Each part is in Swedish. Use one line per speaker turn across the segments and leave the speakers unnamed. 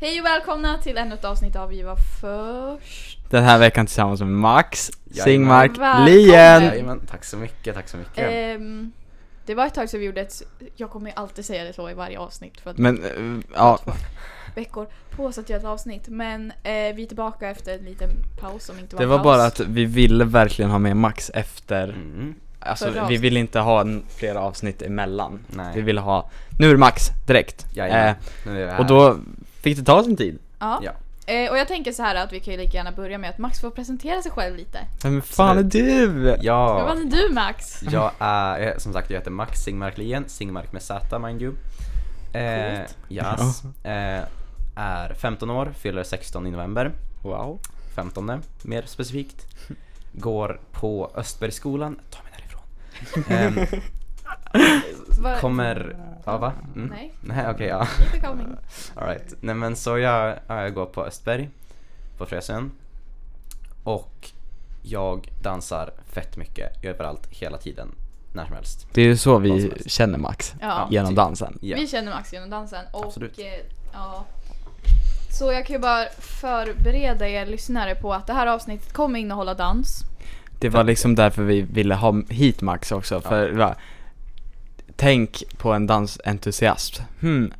Hej och välkomna till ännu ett avsnitt av Vi var först.
Den här veckan tillsammans med Max,
Jajamän.
Singmark,
Välkommen.
Lien!
Jajamän, tack så mycket, tack så mycket.
Ehm, det var ett tag sedan vi gjorde ett, jag kommer ju alltid säga det så i varje avsnitt för att
Men, eh, ja,
veckor på oss att göra ett avsnitt. Men eh, vi är tillbaka efter en liten paus som inte var
det var
paus.
bara att vi ville verkligen ha med Max efter,
Mm.
Förra
alltså vi
avsnittet.
ville inte ha en, flera avsnitt emellan.
Nej.
Vi ville ha, nu är det Max, direkt.
Jajamän.
Eh,
Nu är vi här.
och då fick det ta sin tid.
Ja.
Ja.
Eh, och jag tänker så här att vi kan ju lika gärna börja med att Max får presentera sig själv lite.
Vem fan är du?
Vad var
Ja,
det du Max?
jag är, eh, som sagt jag heter Max Singmark Lien, Singmark med Z mind you. Eh,
Coolt.
yes. eh, är 15 år, fyller 16 i november.
Wow.
15 mer specifikt. Går på Östbergsskolan, ta mig därifrån. Ehm,
Var...
kommer, ja va? Mm.
Nej.
Nej okej ja.
Keep it coming.
All right. Nej men så jag, jag går på Östberg på Frösön. Och jag dansar fett mycket överallt hela tiden. När som helst.
Det är ju så
Vad
vi
som helst.
känner Max,
Ja.
genom
typ.
dansen.
Ja.
Vi känner Max genom dansen och
Absolut.
Eh, ja. Så jag kan ju bara förbereda er lyssnare på att det här avsnittet kommer innehålla dans.
Det var liksom därför vi ville ha hit Max också, för det var, tänk på en dansentusiast. Hmm,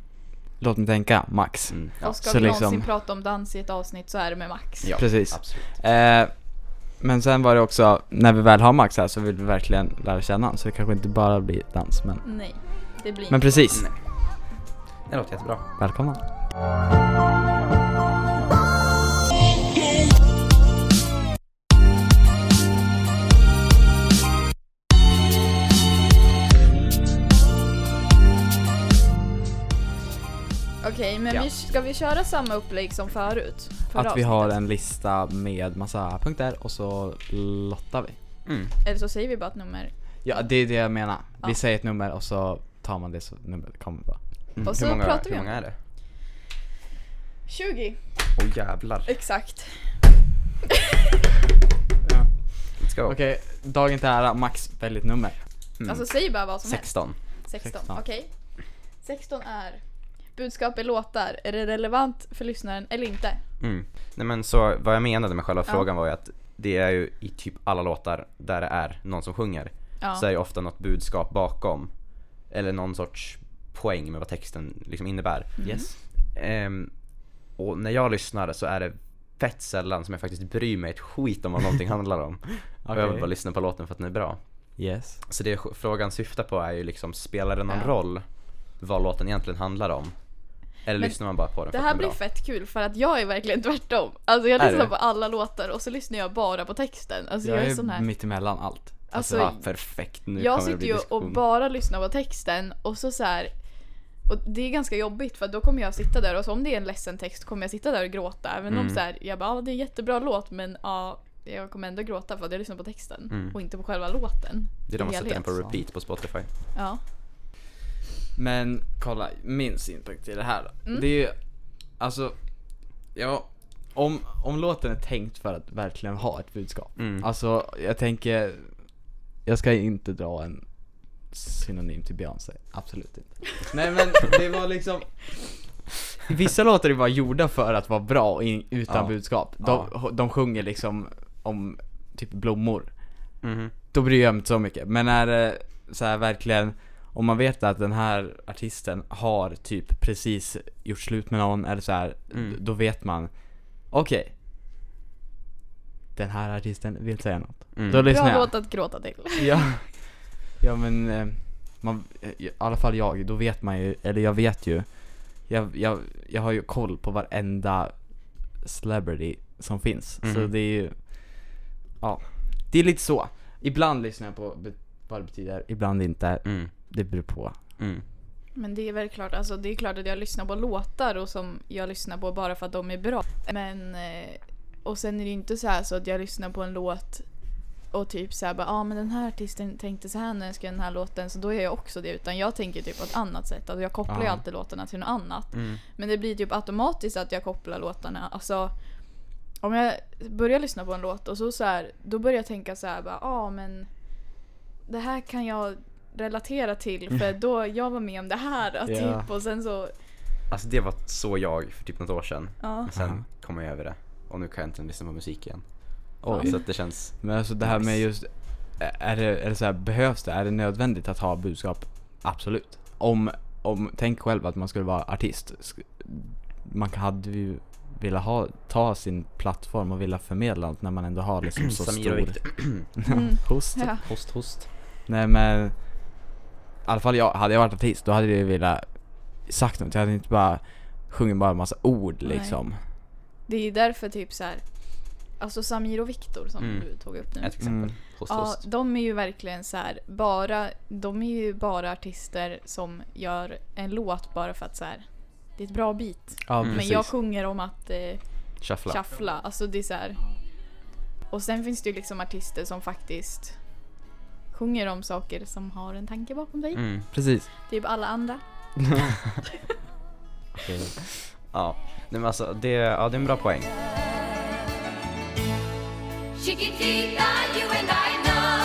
låt mig tänka, Max.
Mm, ja.
och ska
så
vi någonsin
liksom-
prata om dans i ett avsnitt så är det med Max.
ja,
precis.
Absolut.
Eh, men sen var det också, när vi väl har Max här så vill vi verkligen lära känna honom, så det kanske inte bara blir dans men...
Nej, det blir
Men
inte.
precis,
Nej. Det låter jättebra. Mm.
välkomna!
Okej, men
Ja.
vi, ska vi köra samma upplägg som förut? Förra
Att vi har
avsnittet?
en lista med massa punkter och så lottar vi.
Mm.
Eller så säger vi bara ett nummer.
Ja, det är det jag menar.
Ja.
Vi säger ett nummer och så tar man det så numret kommer bara.
Mm.
Och så
hur många,
pratar vi
hur
om-
många är det?
20,
Åh jävlar.
exakt.
Let's go.
Okej, dagen till ära, Max välj ett nummer.
Mm.
Alltså säg bara vad som helst.
16.
16,
16.
okej. 16 är budskap i låtar. Är det relevant för lyssnaren eller inte?
Mm. Nej men så vad jag menade med själva
Ja.
frågan var ju att det är ju i typ alla låtar där det är någon som sjunger.
Ja.
så är ju ofta något budskap bakom. Eller någon sorts poäng med vad texten liksom innebär.
Mm.
Yes.
Ehm, och när jag lyssnar så är det fett sällan som jag faktiskt bryr mig ett skit om vad någonting handlar om. Och jag vill
Okej.
bara lyssna på låten för att den är bra.
Yes.
Så det sj- frågan syftar på är ju liksom, spelar det någon
Ja.
roll vad låten egentligen handlar om? Eller
Men
lyssnar man bara på den
Det
för
här
att den
blir
är bra?
fett kul för att jag är verkligen tvärtom. Alltså jag
Är
lyssnar
du?
på alla låtar och så lyssnar jag bara på texten. Alltså jag,
jag
är sån
är
här.
mittemellan allt.
Alltså,
Ja, ah, perfekt, nu
jag
kommer det
sitter
bli
ju och
diskussion.
bara lyssnar på texten och så så här. Och det är ganska jobbigt för då kommer jag sitta där och så om det är en ledsen text kommer jag sitta där och gråta. Även om
Mm.
så här, jag bara, ah, det är en jättebra låt men ja, jag kommer ändå gråta för att jag lyssnar på texten
Mm.
och inte på själva låten.
Det är de
i
som sätter den
helhet.
på repeat på Spotify.
Ja.
Men kolla, min synpunkt i det här då. Det är ju, alltså, ja, om, om låten är tänkt för att verkligen ha ett budskap.
Mm.
Alltså, jag tänker, jag ska inte dra en synonym till Beyoncé. Absolut inte. Nej men det var liksom Vissa låtar är bara gjorda för att vara bra och in, utan
Ja.
budskap. De, de sjunger liksom om typ blommor
Mhm.
då bryr jag mig inte så mycket. Men är det så här verkligen, om man vet att den här artisten har typ precis gjort slut med någon eller så här,
Mm.
d- då vet man, okej. den här artisten vill säga något.
Mm.
Då lyssnar
Bra
jag.
låt att gråta till.
Ja, ja men, eh, man, eh, i alla fall jag, då vet man ju, eller jag vet ju, jag, jag, jag har ju koll på varenda celebrity som finns. Så
Mhm.
det är ju, ja, det är lite så. Ibland lyssnar jag på be- vad det betyder, ibland inte.
Mm.
Det beror på.
Mm.
Men det är väl klart, alltså det är klart att jag lyssnar på låtar och som jag lyssnar på bara för att de är bra. Men, eh, och sen är det ju inte så här så att jag lyssnar på en låt och typ såhär bara, ja ah, men den här artisten tänkte så här när jag skrev den här låten så då gör jag också det utan jag tänker typ på ett annat sätt. Alltså jag kopplar ju
Ja.
alltid låtarna till något annat.
Mm.
Men det blir typ automatiskt att jag kopplar låtarna. Alltså om jag börjar lyssna på en låt och så, så här, då börjar jag tänka så här bara, ja ah, men det här kan jag relatera till för då jag var med om det här
Ja.
typ och sen så
Alltså det var så jag för typ något år sedan.
Ja.
Men sen
Aha.
kom jag över det. Och nu kan jag inte lyssna på musik igen.
Oj.
Så att det känns...
Men alltså det här med just, är det, är det så här, behövs det? Är det nödvändigt att ha budskap? Absolut. Om, om, tänk själv att man skulle vara artist. Sk- Man hade ju velat ha, ta sin plattform och vilja förmedla något när man ändå har liksom så
Samir och
stor...
Viktor.
Mm.
host.
Ja.
Host, host. Nej men, i alla fall jag, hade jag varit artist då hade jag velat sagt något. Jag hade inte bara sjungit bara en massa ord
Nej.
liksom.
Det är därför typ så här. Alltså Samir och Viktor som
Mm.
du tog upp nu.
Ett exempel.
Mm.
Host,
Ja,
host.
de är ju verkligen så här, bara, de är ju bara artister som gör en låt bara för att så här, det är ett bra beat.
Ja
Mm.
Men jag sjunger om att eh,
Shuffla.
shuffla, alltså det är så här. Och sen finns det ju liksom artister som faktiskt sjunger om saker som har en tanke bakom sig.
Mm.
Precis.
Typ alla andra.
Ja. Nej men alltså det, ja, det är en bra poäng.
Chiquitita, you and I know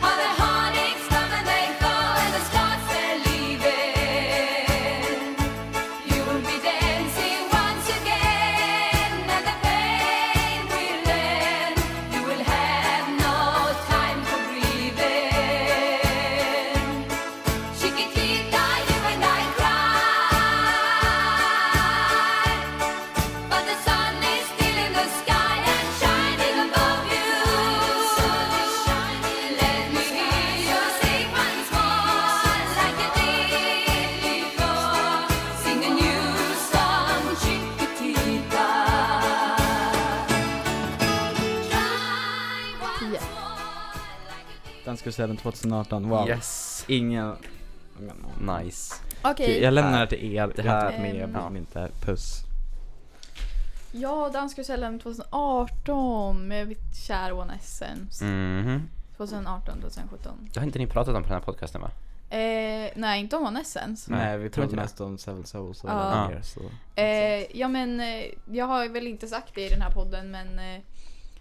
how the heartaches come and they go, and the stars they're leaving. You will be dancing once again, and the pain will end. You will have no time for grieving. Chiquitita, you and I cry. But the sun is still in the sky and shining above you. Let me hear you sing once more, like you did before. Sing a new song, Chiquitita. Try once more,
Dansk 2018, wow. Mm.
Yes.
Ingen...
Nice.
Okej,
Jag lämnar det till er, det
här-
Typ här med jag
Ja.
bryr mig inte. Puss.
ja Danskarusellen 2018 med mitt kära One Essence.
Mhm.
2018, 2017.
Det har inte ni pratat om på den här podcasten va?
Eh, nej, inte om One Essence.
Nej,
Nej, vi
tror
pratade
inte det.
mest om Seven Souls och
Ja.
alla
Ja.
er, så.
Eh, ja men eh, jag har väl inte sagt det i den här podden men eh,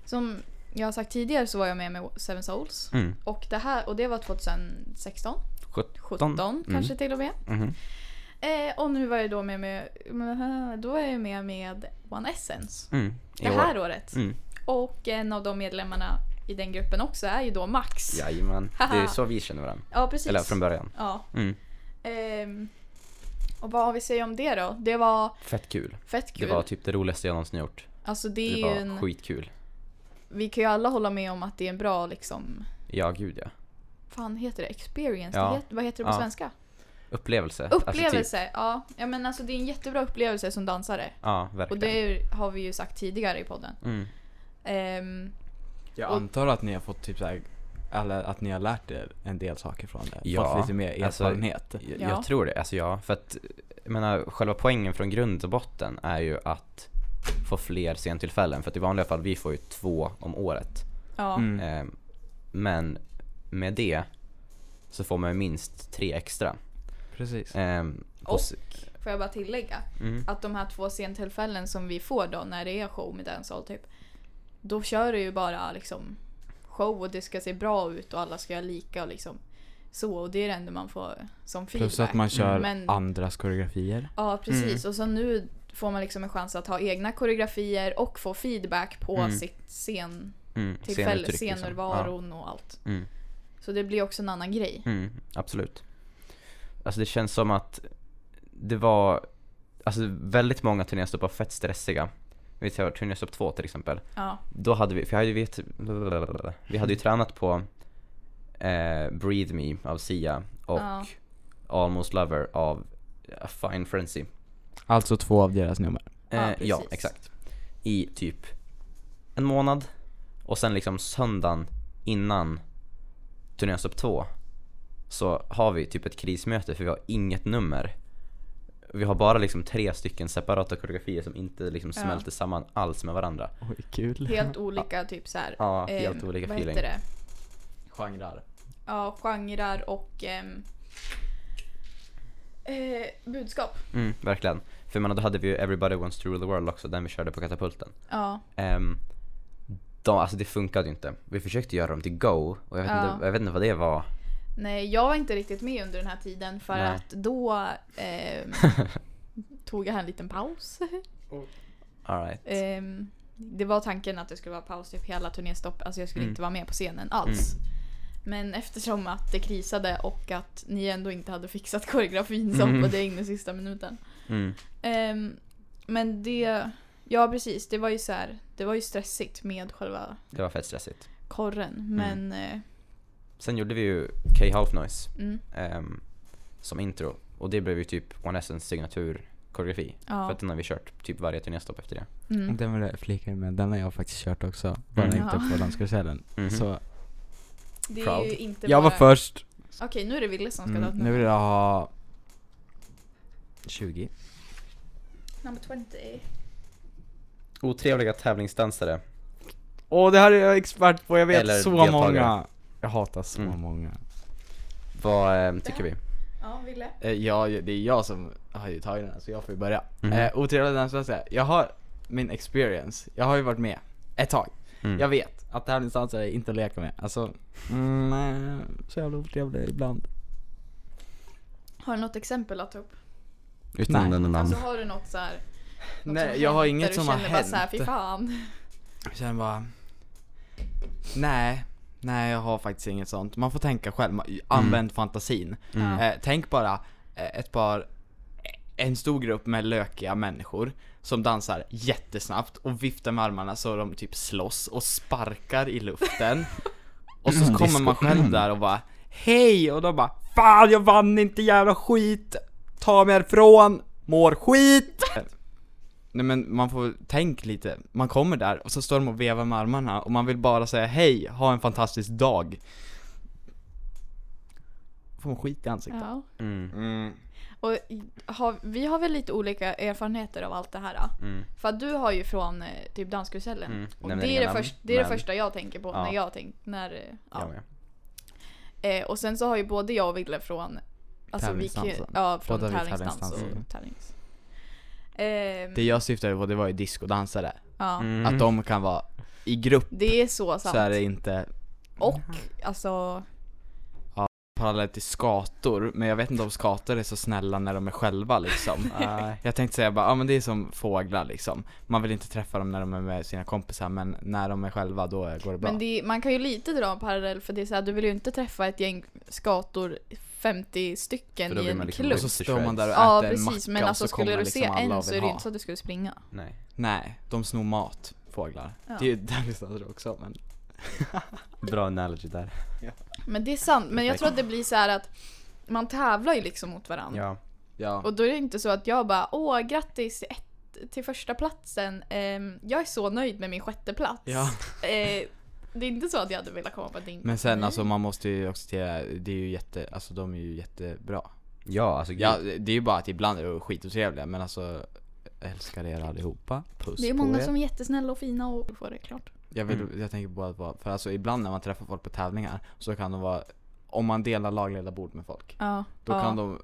som jag har sagt tidigare så var jag med med Seven Souls.
Mm.
Och, det här, och det var 2016, 17
17?
kanske till och med.
Mm. Mhm.
Eh, och nu var jag då med med, då var jag med med One Essence.
Mm. I
Det
år.
här året.
Mm.
Och en av de medlemmarna i den gruppen också är ju då Max. Ja,
Jajamän. Det är så vi känner varandra.
precis.
Eller från början.
Ja.
Mm.
Ehm, och vad har vi att säga om det då? Det var
Fett kul.
fett
Det
kul.
var typ det roligaste jag någonsin gjort.
alltså det är
Det
ju en...
var skitkul.
vi kan ju alla hålla med om att det är en bra liksom,
Ja, gud ja.
fan heter det? Experience?
Ja.
Det heter, vad heter det på
Ja.
svenska?
Upplevelse. Alltså, typ-
Upplevelse! ja. ja men alltså det är en jättebra upplevelse som dansare.
Ja,
Och
verkligen.
det är- har vi ju sagt tidigare i podden.
Mm.
Ehm,
Jag antar att ni har fått typ såhär, eller att ni har lärt er en del saker från det.
Ja,
Fått lite mer
alltså-
erfarenhet.
Jag,
Ja.
jag tror det. Alltså ja, för att jag menar, själva poängen från grund och botten är ju att få fler scentillfällen. För att i vanliga fall, vi får ju två om året.
ja.
mm.
Eh, men med det så får man ju minst tre extra.
Precis.
Eh, på
Och-
s-
Får jag bara tillägga?
Mm.
Att de här två scentillfällen som vi får då när det är show med dancehall typ. Då kör du ju bara liksom show och det ska se bra ut och alla ska göra lika och liksom så. Och det är det enda man får som feedback.
Plus att man kör
Mm, Men-
andras koreografier.
Ja, precis.
Mm.
Och så nu får man liksom en chans att ha egna koreografier och få feedback på sitt scen
Mm,
tillfälle,
scenuttryck liksom.
scenervaron och allt.
Ja. Mm.
Så det blir också en annan grej.
Mm, absolut. Alltså det känns som att det var, alltså väldigt många turnéstopp var fett stressiga. Vi tar turnéstopp två till exempel.
Ja,
Då hade vi, för jag hade ju vet, vi hade ju tränat på eh, Breathe Me av Sia och
Ja.
Almost Lover av eh, Fine Frenzy.
Alltså två av deras nummer.
Ja,
Eh, ja,
precis.
exakt. I typ en månad. Och sen liksom söndagen innan turnésstopp två så har vi typ ett krismöte för vi har inget nummer. Vi har bara liksom tre stycken separata koreografier som inte liksom
Ja.
smälter samman alls med varandra.
Oj, kul.
helt olika typ så här.
Ja, helt
ehm,
olika
vad
feeling.
Heter det?
Genrer.
Ja, genrer och ehm, eh, budskap.
Mm, verkligen. För man, då hade vi ju Everybody Wants to Rule the World också, den vi körde på katapulten.
Ja,
Ehm, de, alltså det funkade ju inte. Vi försökte göra dem till Go och jag vet,
Ja.
inte, jag vet inte vad det var.
Nej, jag var inte riktigt med under den här tiden för
Nej.
att då ehm, tog jag en liten paus.
Alright.
Ehm, det var tanken att det skulle vara paus typ hela turnéstopp, alltså jag skulle
Mm.
inte vara med på scenen alls. Men eftersom att det krisade och att ni ändå inte hade fixat koreografin så
Mm.
hoppade jag in i sista minuten.
Mm.
Ehm, men det, ja precis, det var ju så här, det var ju stressigt med själva
Det var fett stressigt.
Mm.
korren men eh,
Sen gjorde vi ju K Half Noise
mm,
ehm, som intro och det blev ju typ One Essence signatur koreografi. För
ja.
att den har vi kört typ varje turnéstopp efter det.
Mm.
Den vill jag flika in med, den har jag faktiskt kört också. Bara
Mm.
inte
Ja.
på danskarusellen.
Mhm.
Så
Det är
proud.
ju inte
jag var
bara...
först,
Okej, nu är det Wille som ska
mm,
ta ett
nu vill jag ha 20.
Number 20.
Otrevliga tävlingsdansare.
Åh det här är jag expert på, jag vet
Eller
så
deltagare.
många. Jag hatar så
Mm.
många.
Vad ehm, tycker vi?
Ja, Wille.
Eh, Ja, det är jag som har ju tagit den här, så jag får ju börja.
Mhm.
Eh, otrevliga dansdanser. Jag har min experience. Jag har ju varit med ett tag.
Mm.
Jag vet att tävlingsdansare är inte att leka med. Alltså, mm, nej, så jävla otrevliga ibland.
Har du något exempel att ta upp?
Utan Nej.
nämna
Alltså har du något så här, något som
Nej, jag har
hänt
inget
där
som
du
har
känner bara så här,
hänt.
fy fan.
Sen bara... Nej, nej jag har faktiskt inget sånt. Man får tänka själv, Man- använd fantasin.
Mm.
Eh, tänk bara eh, ett par, eh, en stor grupp med lökiga människor som dansar jättesnabbt och viftar med armarna så de typ slåss och sparkar i luften. och så kommer man själv där och bara Hej! Och de bara Fan jag vann inte jävla skit! Ta mig härifrån! Mår skit! Nej men man får tänk lite, man kommer där och så står de och vevar med armarna och man vill bara säga hej, ha en fantastisk dag. Får man skit i ansiktet.
Ja.
Mm.
Mm.
Och i- har, vi har väl lite olika erfarenheter av allt det här. då?
Mm.
För att du har ju från eh, typ Danskarusellen.
Mm.
Och
Nämner
det är,
inga
det,
namn,
först, det, är det
men-
första jag tänker på
Ja.
när jag tänkt när, eh, ja.
Jag med.
Eh, och sen så har ju både jag och Wille från Alltså vi kan,
Tävlingsdansen.
ja, från
Båda vi
tävlingsdans och
tävlingsdansen.
tävlings. Ehm,
Det jag syftade på det var ju discodansare.
ja.
Mm.
Att de kan vara i grupp
Det är så sant.
så är det inte
Och alltså,
parallellt till skator, men jag vet inte om skator är så snälla när de är själva liksom.
Nej.
Jag tänkte säga bara, ja men det är som fåglar liksom. Man vill inte träffa dem när de är med sina kompisar men när de är själva då går det bra.
men det, man kan ju lite dra en parallell för det är så här, du vill ju inte träffa ett gäng skator 50
För
stycken
då
i
blir
en
man liksom
klubb.
och så står man där och äter
Ja
en macka
precis, men
och
alltså
så kommer
skulle du
liksom
se
alla
en
och
så
vill
är det
ha.
inte så att du skulle springa.
Nej.
Nej, de snor mat, fåglar.
Ja.
Det är ju tävlingsdansare också men
Bra analogy där.
Men det är sant, men jag tror att det blir så här att man tävlar ju liksom mot varandra.
Ja.
ja.
Och då är det inte så att jag bara åh grattis till ett, till första platsen. Ehm, jag är så nöjd med min sjätte plats.
Ja.
Eh, det är inte så att jag hade velat komma på din
Men sen alltså
Mm.
man måste ju också till, det är ju jätte, alltså de är ju jättebra.
Ja, alltså gud.
Ja, det är ju bara att ibland är de skitotrevliga men alltså jag älskar er allihopa. Puss
Det är
på
många
er.
som är jättesnälla och fina och får det klart.
Jag, vill, jag tänker bara på, för alltså ibland när man träffar folk på tävlingar så kan de vara, om man delar lagledarbord med folk,
Ja.
då
ja.
kan de,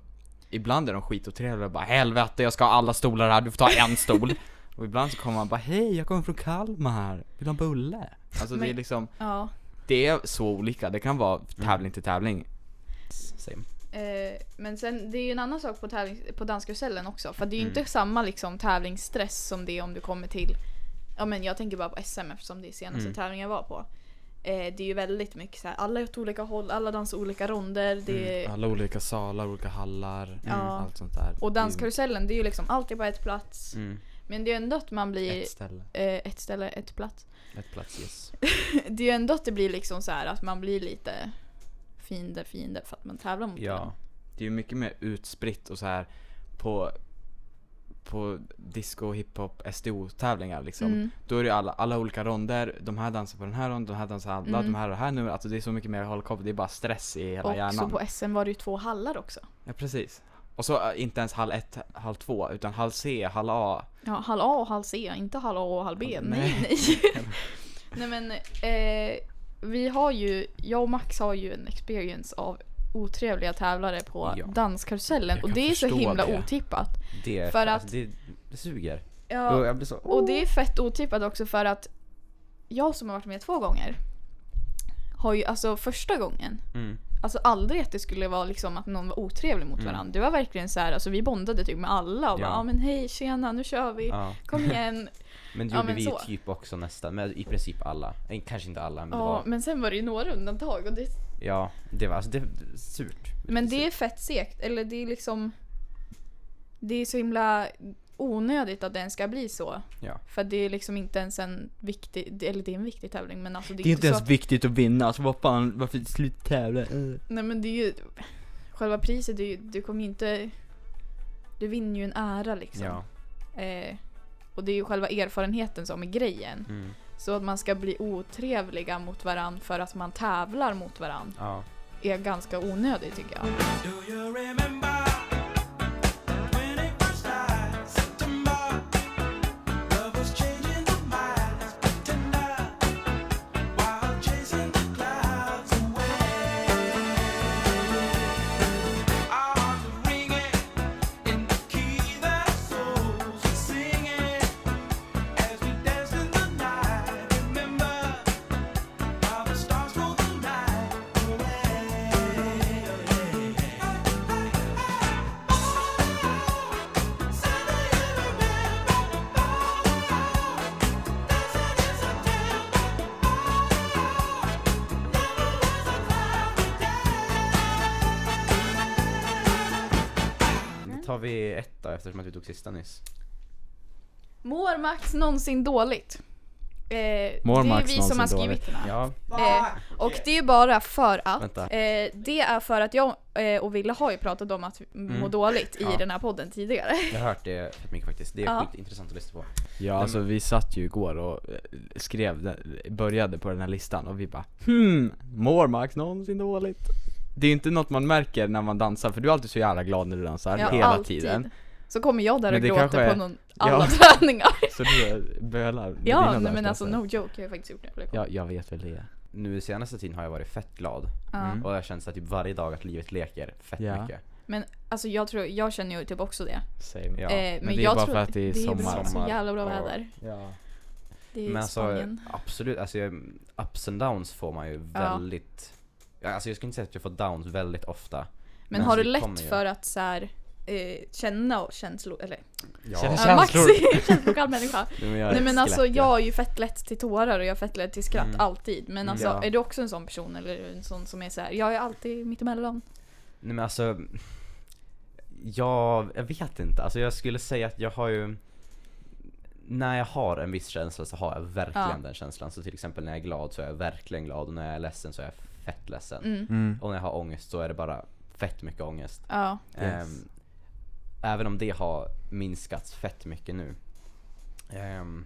ibland är de skitotrevliga och bara helvete jag ska ha alla stolar här, du får ta en stol. och ibland så kommer man bara hej jag kommer från Kalmar, vill du ha en bulle? Alltså det är
Men-
liksom,
Ja.
det är så olika, det kan vara tävling till tävling.
Same.
Eh, men sen, det är ju en annan sak på, tävling, på danskarusellen också. För det är ju
Mm.
inte samma liksom, tävlingsstress som det är om du kommer till... Ja men jag tänker bara på SM eftersom det är senaste
Mm.
tävlingen jag var på. Eh, det är ju väldigt mycket så här, alla är åt olika håll, alla dansar olika ronder. Det är,
Mm, Alla Mm. olika salar, olika hallar,
Eh. Ja.
allt sånt där.
och danskarusellen, det är ju liksom alltid på ett plats.
Mm.
Men det är ju ändå att man
Det
blir...
är ett ställe,
eh, ett ställe, ett plats.
ett plats, yes.
Det är ju ändå att det blir liksom så här att man blir lite fiende, fiende för att man tävlar mot
Ja.
varandra.
Det är ju mycket mer utspritt och så här på på disco, hiphop, SDO-tävlingar liksom.
Mm.
Då är det ju alla, alla olika ronder, de här dansar på den här ronden, de här dansar alla,
Mm.
de här och det här nu. Alltså det är så mycket mer att hålla koll på, det är bara stress i hela
Och så
hjärnan.
på SM var det ju två hallar också.
Ja precis. Och så äh, inte ens hall 1, hall 2, utan hall C, hall A.
Ja, hall A och hall C, inte hall A och hall B.
Hall-
Nej, nej. nej men eh, vi har ju, jag och Max har ju en experience av otrevliga tävlare på
Ja.
danskarusellen
Jag
och
kan
det är så
förstå
himla
det.
otippat.
Det, är-
För
alltså,
att-
det, det suger. Och
Ja,
jag blir så...
och det är fett otippat också för att jag som har varit med två gånger har ju, alltså första gången
Mm.
alltså aldrig att det skulle vara liksom att någon var otrevlig mot varandra. Det var verkligen så här, alltså vi bondade typ med alla och
Ja.
bara ja men hej tjena nu kör vi,
Ja.
kom igen.
Men det
Ja,
gjorde
men
vi
så.
typ också nästan, men i princip alla. Eh, Kanske inte alla men det
ja,
var,
men sen var det ju några undantag och det,
ja det var alltså det, surt.
men det är fett segt eller det är liksom det är så himla onödigt att den ska bli så.
Ja.
För det är liksom inte ens en viktig, det- eller det är en viktig tävling men alltså det är,
Det är inte
så
ens
att-
viktigt att vinna, alltså vad fan, varför sluta tävla? Eh.
Nej men det är ju, själva priset, det är ju, du kommer ju inte, du vinner ju en ära liksom.
Ja.
Eh, och det är ju själva erfarenheten som är grejen.
Mm.
Så att man ska bli otrevliga mot varandra för att man tävlar mot varandra
ja.
är ganska onödigt tycker jag.
Do you remember when it was like September? Love was changing the mind as pretender while chasing the clouds away. Our hearts were ringing in the key that our souls were singing as we danced in the night. Remember how the stars stole the night away.
Då tar vi ett då eftersom att vi tog sista nyss.
Mår Max någonsin dåligt? Eh,
Mår
det är
Max
vi som har
någonsin
skrivit den här.
Ja.
Eh, och det är bara för att,
Vänta.
eh, det är för att jag eh, och Ville har ju pratat om att må dåligt i
Mm. Ja.
den här podden tidigare.
Jag har hört det fett mycket faktiskt. Det är
Ja.
skitintressant att lyssna på.
Ja alltså vi satt ju igår och eh, skrev, den, började på den här listan och vi bara hmm, mår Max någonsin dåligt? Det är ju inte något man märker när man dansar för du är alltid så jävla glad när du dansar,
Ja,
hela
alltid.
tiden
Så kommer jag där
Men
och
det
gråter
kanske är-
på någon, alla
Ja.
träningar.
Så du bölar med dina
ja, nej, men
dansdanser.
alltså no joke, jag har faktiskt gjort det. flera gånger.
Ja, jag vet väl det
Nu i senaste tiden har jag varit fett glad.
Ja.
Och jag känner så här typ varje dag att livet leker fett
Ja.
mycket.
Men alltså jag tror, jag känner ju typ också det.
Same
Ja.
eh,
men det är
jag
bara
tror
för att det är
Det
sommar.
är så jävla bra
Ja.
väder.
Ja
Det är
Men alltså
Spanien.
absolut, alltså jag- ups and downs får man ju väldigt ja, Alltså jag skulle inte säga att jag får downs väldigt ofta.
Men
men alltså,
har du
det kommer
lätt
ju.
för att så här, eh, känna och känslor, eller
Känner
ja, Max
Känslor.
är en känslokall människa. Nej men alltså jag är ju fett lätt till tårar och jag är fett lätt till skratt
Mm.
alltid. Men alltså
Ja.
är du också en sån person eller är du en sån som är så här, jag är alltid mittemellan?
Nej men alltså jag, jag vet inte, alltså jag skulle säga att jag har ju När jag har en viss känsla så har jag verkligen
Ja.
den känslan. Så till exempel när jag är glad så är jag verkligen glad och när jag är ledsen så är jag fett ledsen.
Mm.
Och när jag har ångest så är det bara fett mycket ångest.
Ja.
Yes.
Ehm, även om det har minskats fett mycket nu. Ehm,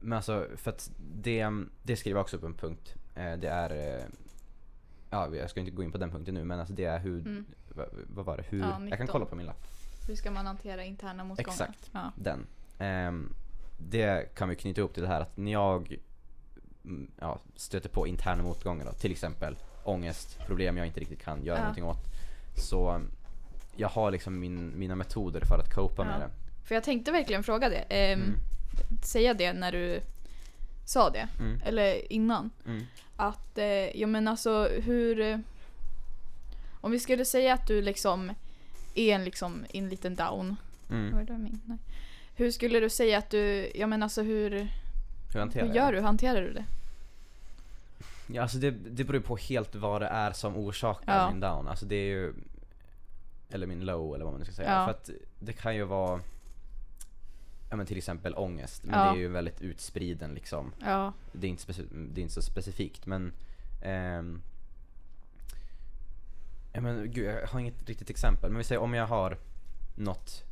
men alltså, för att det, det skriver jag också på en punkt. Eh, det är, eh, ja jag ska inte gå in på den punkten nu men alltså det är hur,
Mm.
va, vad var det? Hur,
Ja,
jag
19.
kan kolla på min lapp.
Hur ska man hantera interna motgångar?
Exakt.
Ja.
Den. Ehm, det kan vi knyta ihop till det här att när jag mm, ja, stöter på interna motgångar då, till exempel ångest, problem jag inte riktigt kan göra
Ja.
någonting åt. Så mm, jag har liksom min, mina metoder för att copa
Ja.
med det.
För jag tänkte verkligen fråga det. Ehm,
Mm.
Säga det när du sa det.
Mm.
Eller innan.
Mm.
Att, eh, ja men alltså hur... eh, Om vi skulle säga att du liksom är en, liksom, en liten down.
Mm.
Var det min? Nej. Hur skulle du säga att du, ja men alltså hur,
Hur hanterar
hur
jag
gör
det?
du? Hanterar du det?
Ja, alltså det, det beror ju på helt vad det är som orsakar
Ja.
min down. Alltså det är ju... Eller min low eller vad man nu ska säga.
Ja.
För att det kan ju vara... Ja men till exempel ångest. Men
Ja.
det är ju väldigt utspriden liksom.
Ja.
Det är inte, speci- det är inte så specifikt men... ehm, ja men gud jag har inget riktigt exempel. Men vi säger om jag har något,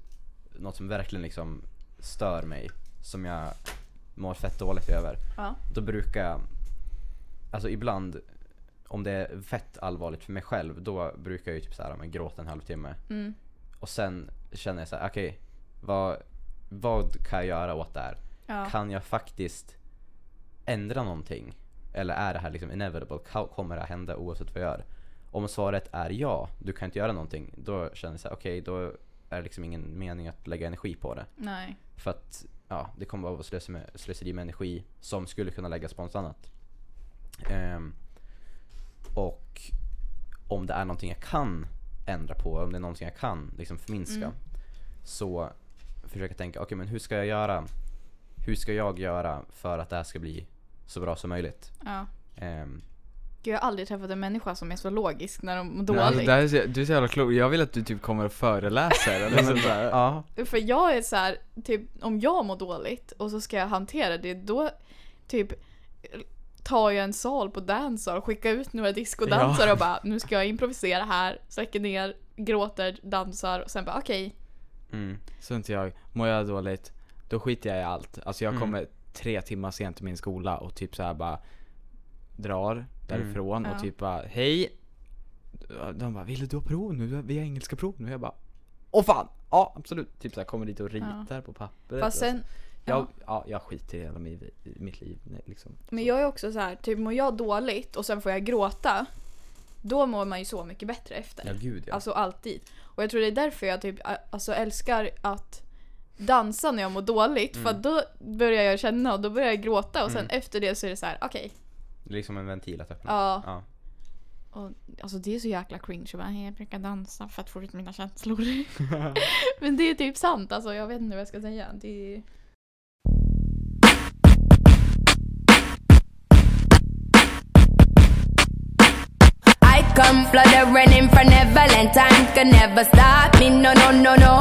något som verkligen liksom stör mig. Som jag mår fett dåligt över.
Ja.
Då brukar jag, alltså ibland om det är fett allvarligt för mig själv då brukar jag ju typ såhär, men gråta en halvtimme.
Mm.
Och sen känner jag så här: okej vad, vad kan jag göra åt det här?
Ja.
Kan jag faktiskt ändra någonting? Eller är det här liksom inevitable? Ka- Kommer det här hända oavsett vad jag gör? Om svaret är ja, du kan inte göra någonting. Då känner jag så här, okej då är det liksom ingen mening att lägga energi på det.
Nej.
För att ja, det kommer bara vara slöseri med, slöseri med energi som skulle kunna läggas på något annat. Ehm, och om det är någonting jag kan ändra på, om det är någonting jag kan liksom förminska.
Mm.
Så försöker jag tänka, okej men hur ska jag göra? Hur ska jag göra för att det här ska bli så bra som möjligt?
Ja.
Ehm,
Gud, jag har aldrig träffat en människa som är så logisk när de mår
Nej,
dåligt.
alltså, det här är så, du är så jävla klok, jag vill att du typ kommer och föreläser eller sånt där.
ja,
För jag är så här, typ om jag mår dåligt och så ska jag hantera det, då typ tar jag en sal på Dancehall och skickar ut några discodansare och bara nu ska jag improvisera här, släcker ner, gråter, dansar och sen bara okej.
mm,
Så inte jag, mår jag dåligt, då skiter jag i allt. Alltså jag
Mm.
kommer tre timmar sent till min skola och typ så här bara drar därifrån och
Ja.
typ bara hej. De bara, vill du ha prov nu? Vi har engelska prov nu. Jag bara, åh fan! Ja absolut. Typ så här, kommer dit och ritar på pappret.
Fast
och så.
sen,
jag, ja, jag skiter i hela mitt, mitt liv nej, liksom.
men jag är också så här, typ mår jag dåligt och sen får jag gråta, då mår man ju så mycket bättre efter.
ja gud ja.
Alltså alltid. Och jag tror det är därför jag typ a- alltså, älskar att dansa när jag mår dåligt. För
Mm.
att då börjar jag känna och då börjar jag gråta och sen efter det så är det så här: okej.
Det är liksom en ventil att öppna.
Ja.
Ja.
Och, alltså det är så jäkla cringe jag bara, "Hej, jag brukar dansa för att få ut mina känslor. Men det är typ sant alltså, jag vet inte vad jag ska säga. Det är...
I come fluttering in benevolent. Time can never stop me. No, no, no, no.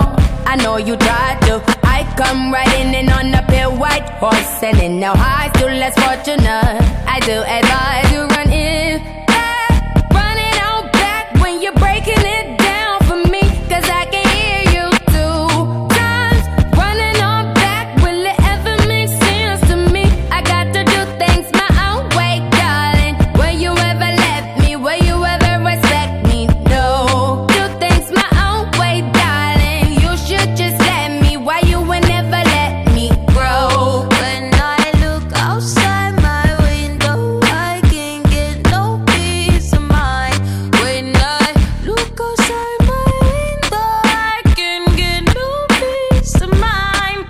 I know you tried to. I come riding in on a pale white horse. And in no high to less fortunate. I do advise you run in. back, run it out back when you're breaking it down for me. Cause I can hear you two times. Running on back. Will it ever make sense to me? I got to do things my own way, darling. Will you ever let me? Will you ever respect me? No. Do things my own way, darling. You should just let me. Why you would never let me grow?
When I look outside my window, I can get no peace of mind. When I look outside my window, I can get no peace of mind.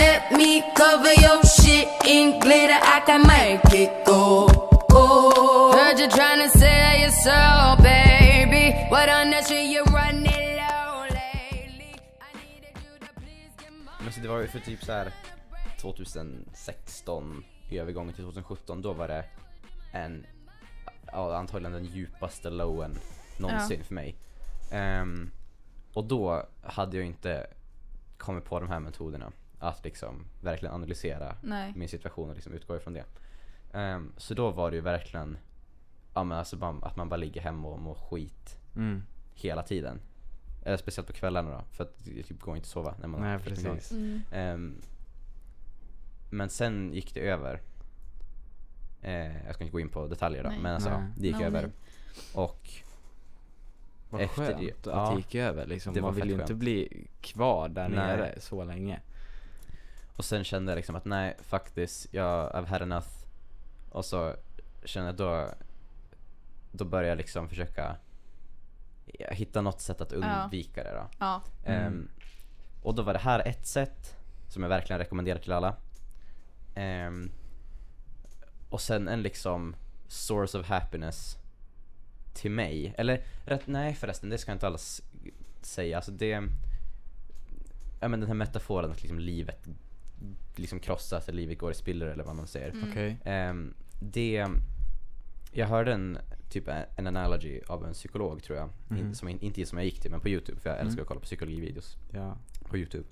Let me cover your shit in glitter. I can make it go. go. Heard you tryna sell yourself, baby. What on that shit you running low lately? I needed you to please get my.
Men så det var ju för typ så här 2016 i övergången till 2017 då var det en ja, antagligen den djupaste lowen någonsin för mig. Ehm, och då hade jag inte kommit på de här metoderna att liksom verkligen analysera
Nej.
min situation och liksom utgå ifrån det. Ehm, så då var det ju verkligen ja, men alltså bara, att man bara ligger hemma och mår skit
Mm.
hela tiden. Eh, speciellt på kvällarna då för att det typ går inte att sova när man har
Nej
varit igång.
precis.
Mm.
Ehm, men sen gick det över. Eh, jag ska inte gå in på detaljer då,
Nej.
men alltså
Nej.
det gick
Nej.
över. Och
Vad
Efter
skönt
det-
att
ja.
det gick över liksom.
Det var
Man vill
fett
ju inte
skönt.
bli kvar där
Nej.
nere så länge.
Och sen kände jag liksom att nej, fuck this, jag, I've had enough. Och så kände jag då, då började jag liksom försöka ja, hitta något sätt att undvika det då.
Ja.
Ehm, och då var det här ett sätt som jag verkligen rekommenderar till alla. Ehm, och sen en liksom source of happiness till mig. Eller rätt, nej förresten, det ska jag inte alls säga. Alltså det... Ja men den här metaforen att liksom livet liksom krossas, eller livet går i spillror eller vad man säger.
Mm.
Okej.
Ehm, det... Jag hörde en typ en analogy av en psykolog tror jag. In, som, in- inte som jag gick till men på youtube för jag älskar att kolla på psykologivideos
Ja.
på youtube.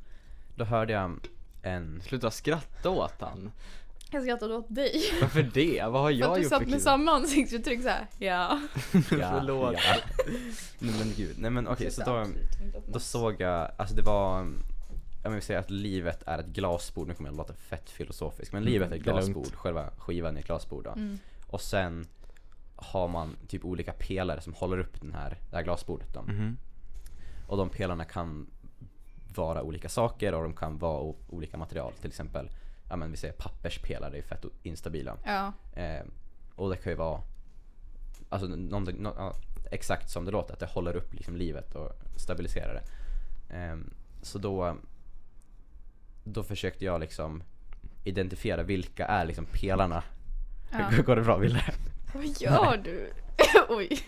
Då hörde jag en...
Sluta skratta åt han.
Jag skrattade åt dig.
Varför det? Vad har
För
jag
att du
gjort
satt med
kul?
samma ansiktsuttryck såhär. Ja.
Förlåt.
Ja. Nej men gud. Nej men okej så då, då såg jag, alltså det var... Jag vill säga att livet är ett glasbord, nu kommer jag att låta fett filosofisk men livet är ett
Mm, det är lugnt.
glasbord, själva skivan är ett glasbord då. Och sen har man typ olika pelare som håller upp den här, det här glasbordet då.
Mhm.
Och de pelarna kan vara olika saker och de kan vara o- olika material. Till exempel, ja men vi säger papperspelare är fett o- instabila.
Ja.
Eh, och det kan ju vara alltså, någonting, nå- ja, exakt som det låter, att det håller upp liksom, livet och stabiliserar det. Eh, så då, då försökte jag liksom identifiera vilka är liksom pelarna.
Ja.
Går det bra Wille?
Vad gör du? Oj.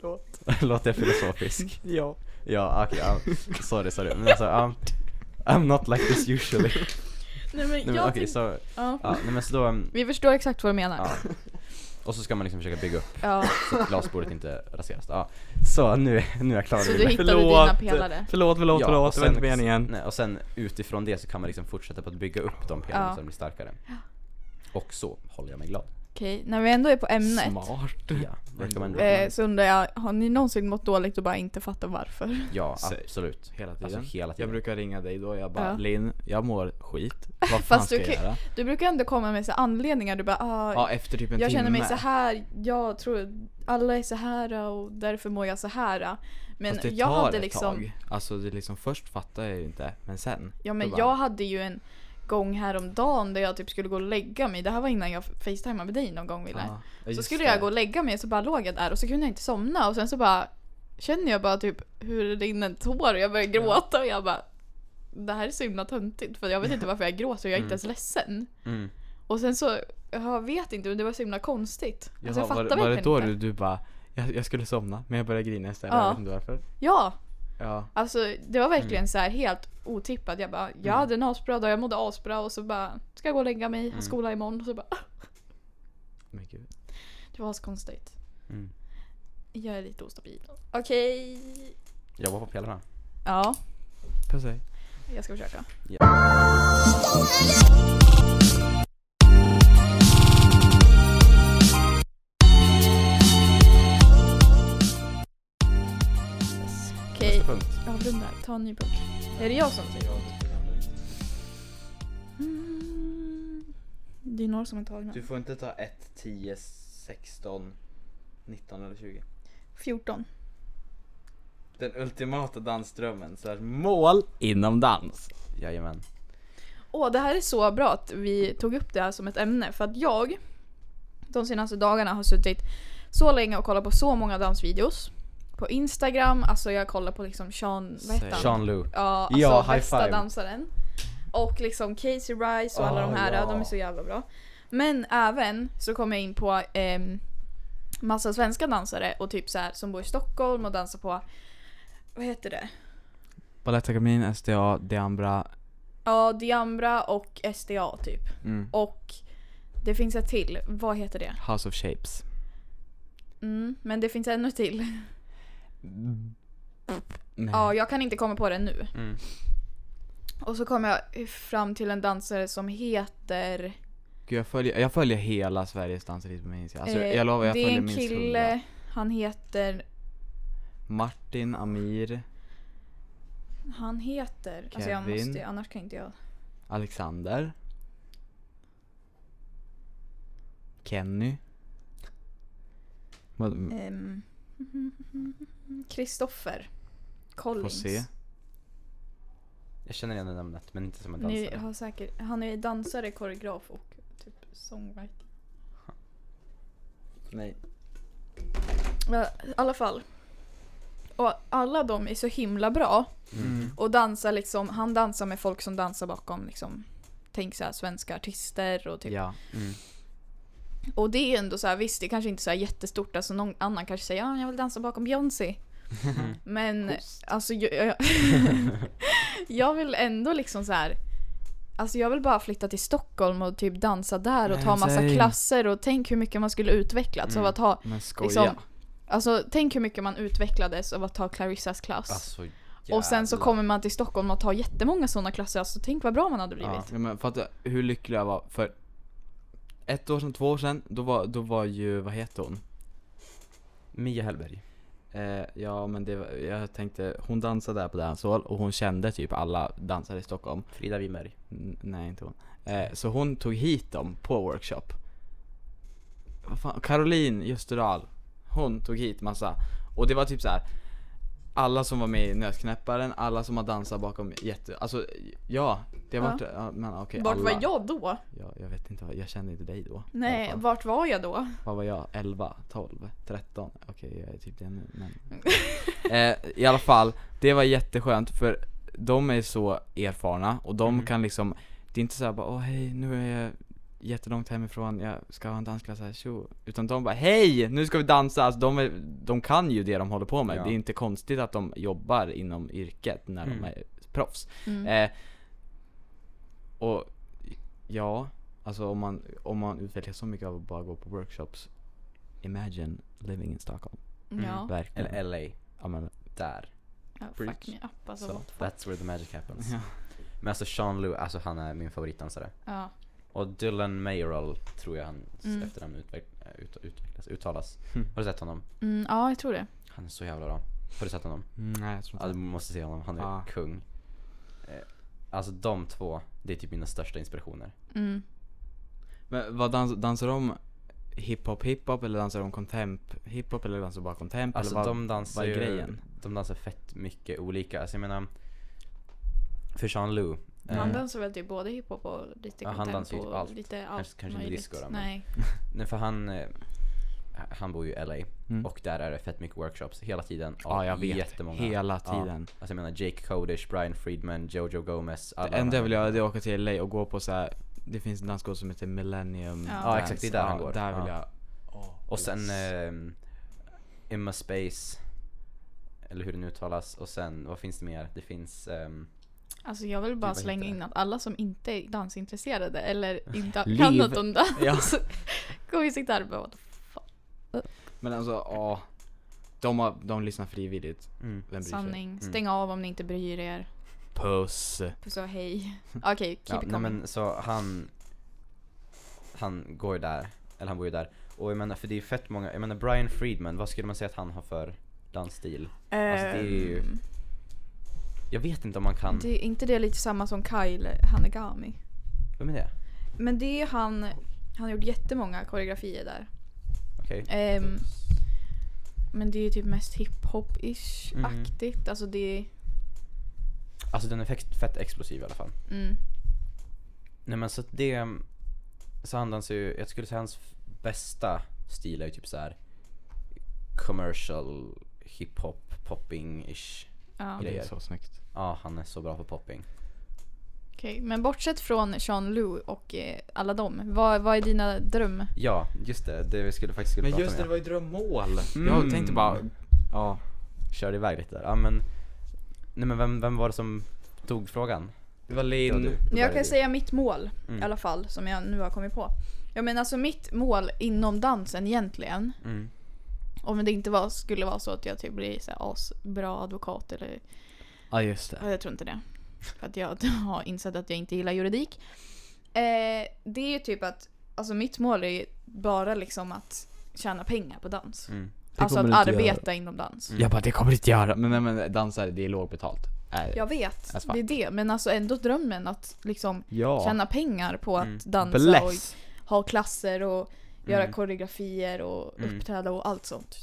Förlåt.
Låter jag filosofisk?
Ja.
Ja, okej, ja. sorry sorry. Men alltså, um, I'm not like this usually.
Nej men,
Nej, men
jag
okej,
tänkte...
så,
ja.
ja, nej, men så då, um,
Vi förstår exakt vad du menar.
ja. Och så ska man liksom försöka bygga upp
Ja.
så att glasbordet inte raseras. Ja. Så nu, nu är jag klar
Så
med
du
mina-
hittade dina pelare?
Förlåt, förlåt,
Ja,
förlåt.
och
Det var inte
sen-
meningen.
Nej, och sen utifrån det så kan man liksom fortsätta på att bygga upp de pelarna
Ja.
så de blir starkare. Och så håller jag mig glad.
Okej, när vi ändå är på ämnet.
Smart.
Ja, recommend,
Eh,
recommend.
så undrar jag, har ni någonsin mått dåligt och bara inte fattat varför?
Ja,
så-
absolut.
Hela tiden.
Alltså hela
Jag
tiden.
brukar ringa dig då, jag bara
Ja.
Linn, jag mår skit. Vad fan
Fast
ska
du
jag
kan-
göra?
Du brukar ändå komma med så här anledningar, du bara ah,
Ja, efter typ en
jag
timme.
känner mig så här, jag tror alla är så här och därför mår jag så här. Men
Fast det
jag
tar
hade
ett
liksom,
tag. Alltså det är liksom först fattar jag ju inte, men sen.
ja
då
men
bara,
jag hade ju en gång häromdagen där jag typ skulle gå och lägga mig. Det här var innan jag facetimade med dig någon gång Wille.
ja,
så
just
skulle
det.
jag gå och lägga mig så bara låg jag där och så kunde jag inte somna och sen så bara känner jag bara typ hur det rinner en tår och jag börjar gråta och jag bara Det här är så himla töntigt för jag vet inte varför jag gråter och jag är inte ens ledsen.
Mm.
Och sen så, jag vet inte men det var så himla konstigt. Alltså, jag
Jaha,
fattar
var, var det
verkligen
då
inte.
du, du bara, jag, jag skulle somna men jag började grina istället,
Ja.
jag vet inte varför.
Ja!
Ja.
Alltså det var verkligen så här helt otippat. Jag bara, jag hade en asbra dag, jag mådde asbra och så bara, ska jag gå och lägga mig, ha skola imorgon. Och så bara,
Men gud.
det var askonstigt.
Mm.
Jag är lite ostabil. Okej.
Jag var på pelarna.
Ja,
Puss hej.
jag ska försöka. Okej,
Nästa punkt.
avrunda. Ta en ny punkt. Är det jag som säger? Mm. Det är några som är tagna.
får inte ta 1, 10, 16, 19 eller 20.
14.
Den ultimata dansdrömmen, så mål inom dans.
Jajamän.
Åh, det här är så bra att vi tog upp det här som ett ämne. För att jag de senaste dagarna har suttit så länge och kollat på så många dansvideos. På Instagram, alltså jag kollar på liksom Sean, vad heter han?
Sean Lu.
Ja, alltså
Ja, high
bästa
five.
dansaren. Och liksom Casey Rice och alla
Ah,
de här,
ja.
de är så jävla bra. Men även så kom jag in på ehm, massa svenska dansare och typ så här som bor i Stockholm och dansar på, vad heter det?
Balettakademin, SDA, Deambra.
Ja, Diambra och SDA typ.
Mm.
Och det finns ett till, vad heter det?
House of Shapes.
Mm, men det finns ännu till.
Mm. Nej.
Ja, jag kan inte komma på det nu.
Mm.
Och så kom jag fram till en dansare som heter...
Gud, jag, följer, jag följer hela Sveriges danselit på min Instagram. Alltså,
eh,
jag lovar, jag
det
följer
är en
minst
kille,
100.
han heter...
Martin, Amir,
Han heter... Alltså jag
Kevin.
måste, annars kan inte jag...
Alexander. Kenny. Vad,
Ehm, Kristoffer.
får
mm, Collins.
se.
Jag känner igen det namnet men inte som en
Ni
dansare.
har säkert, han är dansare, koreograf och typ songwriter.
Nej.
Ja, I alla fall. Och alla de är så himla bra.
Mm.
Och dansar liksom, han dansar med folk som dansar bakom liksom. Tänk såhär svenska artister och typ.
Ja.
Och det är ändå så här, visst det kanske inte är så här jättestort, alltså någon annan kanske säger ah, jag vill dansa bakom Beyoncé. Men alltså jag, jag, jag vill ändå liksom så här. Alltså jag vill bara flytta till Stockholm och typ dansa där och
Nej,
ta
men
massa
säg.
klasser och tänk hur mycket man skulle utvecklats av att ha
Men Mm. skoja.
liksom, Alltså tänk hur mycket man utvecklades av att ta Clarissas klass.
Alltså,
och sen så
jävlar.
kommer man till Stockholm och tar jättemånga sådana klasser, alltså tänk vad bra man hade blivit.
Ja, men fatta hur lycklig jag var för ett år sedan, två år sedan, då var, då var ju, vad heter hon?
Mia Hellberg.
Eh, ja men det var, jag tänkte, hon dansade där på dancehall och hon kände typ alla dansare i Stockholm.
Frida Wimberg.
N- nej inte hon. Eh, så hon tog hit dem på workshop. Vad fan, Caroline Justerdahl. Hon tog hit massa. Och det var typ så här. Alla som var med i Nötknäpparen, alla som har dansat bakom jätte... Alltså ja, det har
Ja.
varit... Ja. Men okej,
Vart
alla.
var jag då?
Ja, jag vet inte, vad- jag kände inte dig då. i alla Eh,
Nej,
fall.
vart var jag då?
Vad var jag? 11, 12, 13? Okej, jag är typ det nu men... eh, I alla fall, det var jätteskönt för de är så erfarna och de kan liksom Det är inte såhär bara åh hej nu är jag jättelångt hemifrån, jag ska ha en dansklass här, tjo. Utan de bara hej! Nu ska vi dansa! Alltså de, är, de kan ju det de håller på med.
Ja.
Det är inte konstigt att de jobbar inom yrket när
Mm.
de är proffs.
Mm.
Eh, och ja, alltså om man, om man utvecklas så mycket av att bara gå på workshops. Imagine living in Stockholm.
Ja.
Verkligen.
Eller LA,
ja, men,
där.
ja
Preach.
fuck me up alltså.
Så.
what the fuck.
That's where the magic happens.
ja.
Men alltså Sean Lou, alltså han är min favoritdansare.
Ja.
Och Dylan Mayoral tror jag hans
Mm.
efternamn utveck- eh, ut- utvecklas, uttalas.
Mm.
Har du sett honom?
Mm, ja, jag tror det.
Han är så jävla bra. Har du sett honom?
Mm, Nej, jag tror
Ja,
inte
du måste se honom, han är
Ja.
kung. Eh, Alltså de två, det är typ mina största inspirationer.
Mm.
Men vad dans, dansar de hiphop hiphop eller dansar de contemp hiphop eller dansar de bara contemp?
Alltså
eller vad,
de dansar
vad är
ju,
grejen?
de dansar fett mycket olika. Alltså jag menar, för Sean Lou. eh,
Han dansar väl typ både hiphop och lite
Ja, han
contempo
dansar ju typ
och
allt.
Lite allt
Kanske- kanske inte
möjligt.
disco då, men-
Nej.
Nej för han, eh, han bor ju i LA
Mm.
och där är det fett mycket workshops hela tiden.
Ja,
av
jag vet.
Jättemånga.
Hela
Ja.
tiden.
Alltså jag menar Jake Kodish, Brian Friedman, Jojo Gomez. alla
Det enda
de
jag
här
vill göra
människorna.
det är att åka till LA och gå på så här. det finns en dansgolv som heter Millennium
Ja.
Dance.
Ja,
exakt, det är där han går.
Där vill
Ja.
jag.
Och sen ehm, Emma Space. Eller hur det nu uttalas. Och sen, vad finns det mer? Det finns... ehm,
Alltså jag vill bara
vad
slänga
heter
in att alla som inte är dansintresserade eller inte
Liv.
kan något om dans
Ja.
kommer ju sitta här och bara what the fuck.
Men alltså, ja. De, har, de lyssnar frivilligt.
mm.
Vem bryr sig?
Sanning. Stäng av om ni inte bryr er.
Puss.
Puss och hej. Okej, keep
Ja,
it
nej,
coming.
men så han... Han går ju där. Eller han bor ju där. Och jag menar, för det är ju fett många... Jag menar Brian Friedman, vad skulle man säga att han har för dansstil? alltså, det är ju- Mm.
Ehm,
Jag vet inte om man kan...
det är inte det lite samma som Kyle Hanegami?
Vem är det?
Men det är han, han har gjort jättemånga koreografier där.
Okej.
Ehm, men det är ju typ mest hiphop-ish-aktigt. Alltså det är...
Alltså den är fett, fett explosiv i alla fall.
Mm,
Nej men så att det... Så han dansar ju, jag skulle säga hans f- bästa stil är ju typ så här commercial, hiphop, popping-ish.
ja.
Det
Okej,
är
Grejer.
så snyggt.
Ja, han är så bra på popping.
men bortsett från Sean Lu och eh, alla dem, vad, vad är dina dröm?
Ja, just det. Det vi skulle faktiskt skulle
Men
prata
just det,
om.
det
ja.
var ju drömmål.
Mm.
Jag tänkte bara, ja.
Körde iväg lite där. Ja men... Nej men vem, vem var det som tog frågan?
Det var
Det var
Linn.
du. Det där
Jag
är
kan
du.
säga mitt mål
Mm.
i alla fall, som jag nu har kommit på. Ja men alltså mitt mål inom dansen egentligen,
Mm.
om det inte var, skulle vara så att jag typ blir så här, asbra advokat eller
Ja just det.
Ja, jag tror inte det. För att jag har insett att jag inte gillar juridik. Eh, det är ju typ att, alltså mitt mål är ju bara liksom att tjäna pengar på dans.
Mm.
Alltså att
kommer du inte
arbeta inom dans.
Jag bara, det kommer du inte göra. Men nej men dansare, det är lågbetalt. Äh,
Jag vet,
That's fine.
det är det. Men alltså ändå drömmen att liksom
ja.
tjäna pengar på att
Mm.
dansa
Bless!
och ha klasser och göra
Mm.
koreografier och
Mm.
uppträda och allt sånt.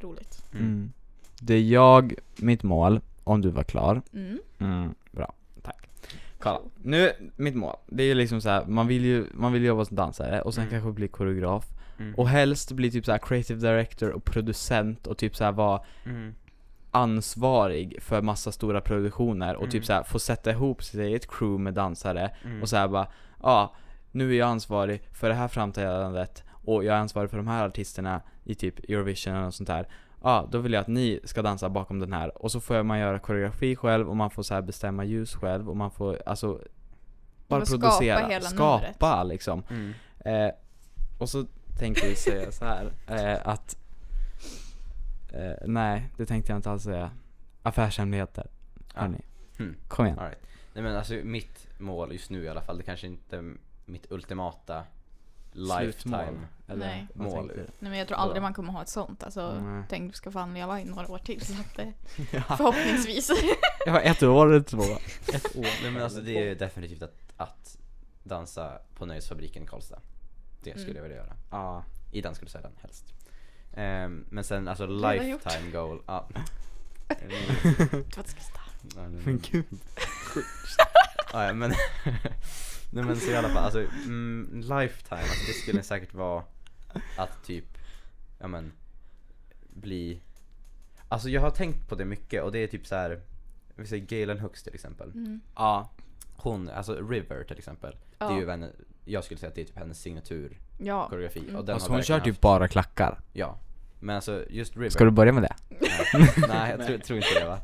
Roligt.
Mm. Det är jag, mitt mål, om du var klar.
Mm.
Mm, bra. Tack. Kolla, nu, mitt mål, det är ju liksom så här, man vill ju, man vill jobba som dansare och sen
Mm.
kanske bli koreograf
Mm.
och helst bli typ så här creative director och producent och typ så här vara
Mm.
ansvarig för massa stora produktioner och
Mm.
typ så här få sätta ihop sitt eget crew med dansare
Mm.
och så här bara, ja, nu är jag ansvarig för det här framträdandet och jag är ansvarig för de här artisterna i typ Eurovision eller något sånt där. Ja, då vill jag att ni ska dansa bakom den här och så får man göra koreografi själv och man får så här bestämma ljus själv och man får alltså bara
får skapa
producera,
hela
skapa liksom.
Mm.
Eh, och så tänkte vi säga så här eh, att eh, nej, det tänkte jag inte alls säga. Affärshemligheter. Hörni,
Mm.
kom igen.
All right. Nej men alltså mitt mål just nu i alla fall, det kanske inte är mitt ultimata lifetime.
eller
Nej.
vad
Mål.
tänkte
Nej, men jag tror aldrig
Bra.
man kommer ha ett sånt. Alltså,
Mm.
Nej.
tänk du ska fan leva i några år till. Så att, eh,
du?
Ah.
Ja.
förhoppningsvis.
Jag var ett år eller två. Ett år.
Nej men alltså det är definitivt att, att dansa på Nöjesfabriken i Karlstad. Det skulle
Mm.
jag vilja göra.
Ja.
I danskarusellen helst. Ehm, men sen alltså
har
lifetime goal. Ja. Ja, nu-
gud.
Ja, ja, men, nej men så i alla fall, alltså mm, lifetime, alltså, det skulle säkert vara att typ, ja men, bli Alltså jag har tänkt på det mycket och det är typ så här. vi säger Galen Hooks till exempel.
Mm.
Ja.
Hon, alltså River till exempel, det
Ja.
är ju en jag skulle säga att det är typ hennes signatur
Ja.
koreografi och den
Alltså
har
hon kör typ
verkligen haft-
bara klackar.
Ja Men alltså just River
Ska du börja med det?
Nej jag tror, tror inte det va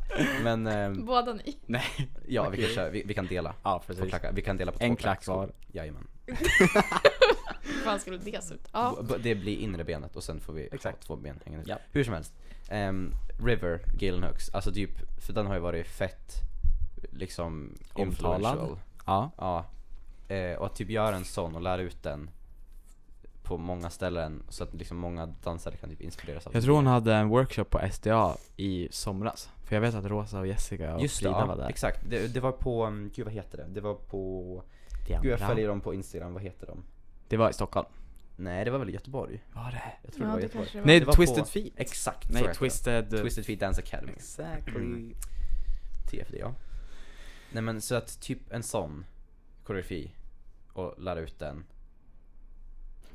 Men ehm,
Båda ni.
Nej.
ja vi kan köra, vi, vi kan dela
Ja
Två
precis.
klackar, vi kan dela på
En
två
klack
klackskor.
var.
Jajamän
Hur fan skulle det se ut? Ja.
B- Det blir inre benet och sen får vi
Exakt.
ha två ben hängande ut.
Ja.
Hur som helst. Ehm, River, Galen Hooks, alltså typ, för den har ju varit fett liksom
Omtalad.
influential.
Ja.
Ja. Eh, och att typ göra en sån och lära ut den på många ställen så att liksom många dansare kan typ inspireras av
Jag
den.
tror hon hade en workshop på SDA i somras. För jag vet att Rosa och Jessica och
Just det,
Frida
ja,
var där.
exakt. Det, det var på, mm, gud vad heter det? Det var på, gud jag följer dem på instagram, vad heter de?
Det var i Stockholm.
Nej det var väl i Göteborg?
Var det?
Jag tror
Ja,
det var
det
Göteborg.
kanske det var.
Nej,
Det var
Twisted
på-
Feet.
Exakt så
Nej,
heter det.
Twisted... eh,
Twisted Feet Dance Academy. Mm.
Exactly.
TFD ja. Nej men så att typ en sån koreografi och lära ut den.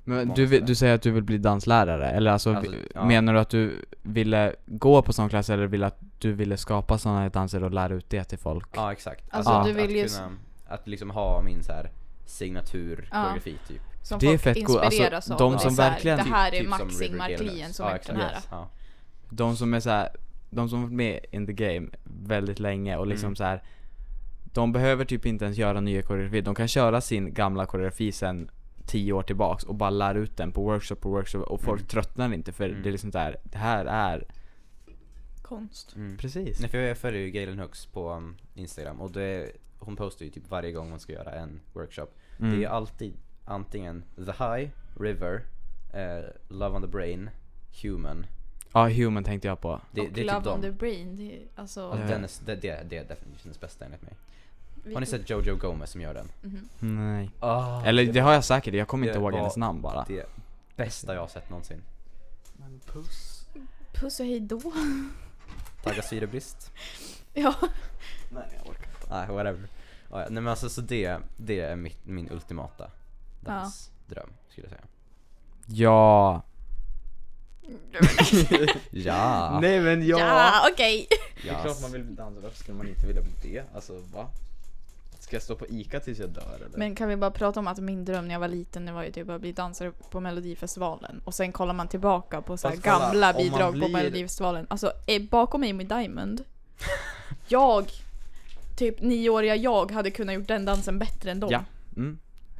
Men
Många
du, vill-
ställen.
du säger att du vill bli danslärare, eller alltså,
Alltså,
vi-
ja.
menar du att du ville gå på sån klass eller vill att du ville skapa såna här danser och lära ut det till folk?
Ja exakt.
Alltså,
att,
du vill
att,
ju-
kunna, att liksom ha min så här signatur
Ja.
koreografi typ.
Som
Det är
folk
fett coolt. Alltså,
inspireras av.
de
Det är
som
så här,
verkligen-
Det här är
typ som
Max
River
Ingmar
Galen
Klien
Oaks.
som
ja,
är den här.
exakt. Ja.
De som är så här, de som varit med in the game väldigt länge och liksom
Mm.
så här. De behöver typ inte ens göra nya koreografier, de kan köra sin gamla koreografi sen 10 år tillbaks och bara lära ut den på workshop på workshop och folk tröttnar inte för
Mm.
det är liksom så här, det här är...
Konst.
Mm.
Precis.
Nej för jag följer ju Galen Hooks på um, Instagram och det, hon postar ju typ varje gång hon ska göra en workshop.
Mm.
Det är ju alltid antingen The High, River, eh, Love on the Brain, Human.
Ja, human tänkte jag på.
Det,
och
det är
Love
typ dem.
on the Brain. Det är, alltså,
Och
Ja.
den är, det, det, det är definitivt hennes bästa enligt mig.
vi- Mhm.
Har ni sett Jojo Gomez som gör den?
Nej.
Oh,
Eller det har jag säkert, jag kommer
det
inte ihåg
var-
hennes namn bara.
Det bästa jag har sett någonsin.
Puss och hej då.
Tagga syrebrist?
ja.
Nej, whatever. Ah, ja. Nej men alltså så det, det är mitt, min ultimata dansdröm skulle jag säga.
Ja.
Ja!
Nej men
Ja, okej.
yes.
vill dansa, varför skulle man inte vilja bli det? Alltså va? Ska jag stå på ICA tills jag dör eller?
Men kan vi bara prata om att min dröm när jag var liten det var ju typ att bli dansare på melodifestivalen och sen kollar man tillbaka på så här
Fast kolla,
gamla
om man
bidrag på
blir-
melodifestivalen. Alltså eh, bakom Amy Diamond, jag, typ nioåriga jag hade kunnat gjort den dansen bättre än dem.
Ja. Mm.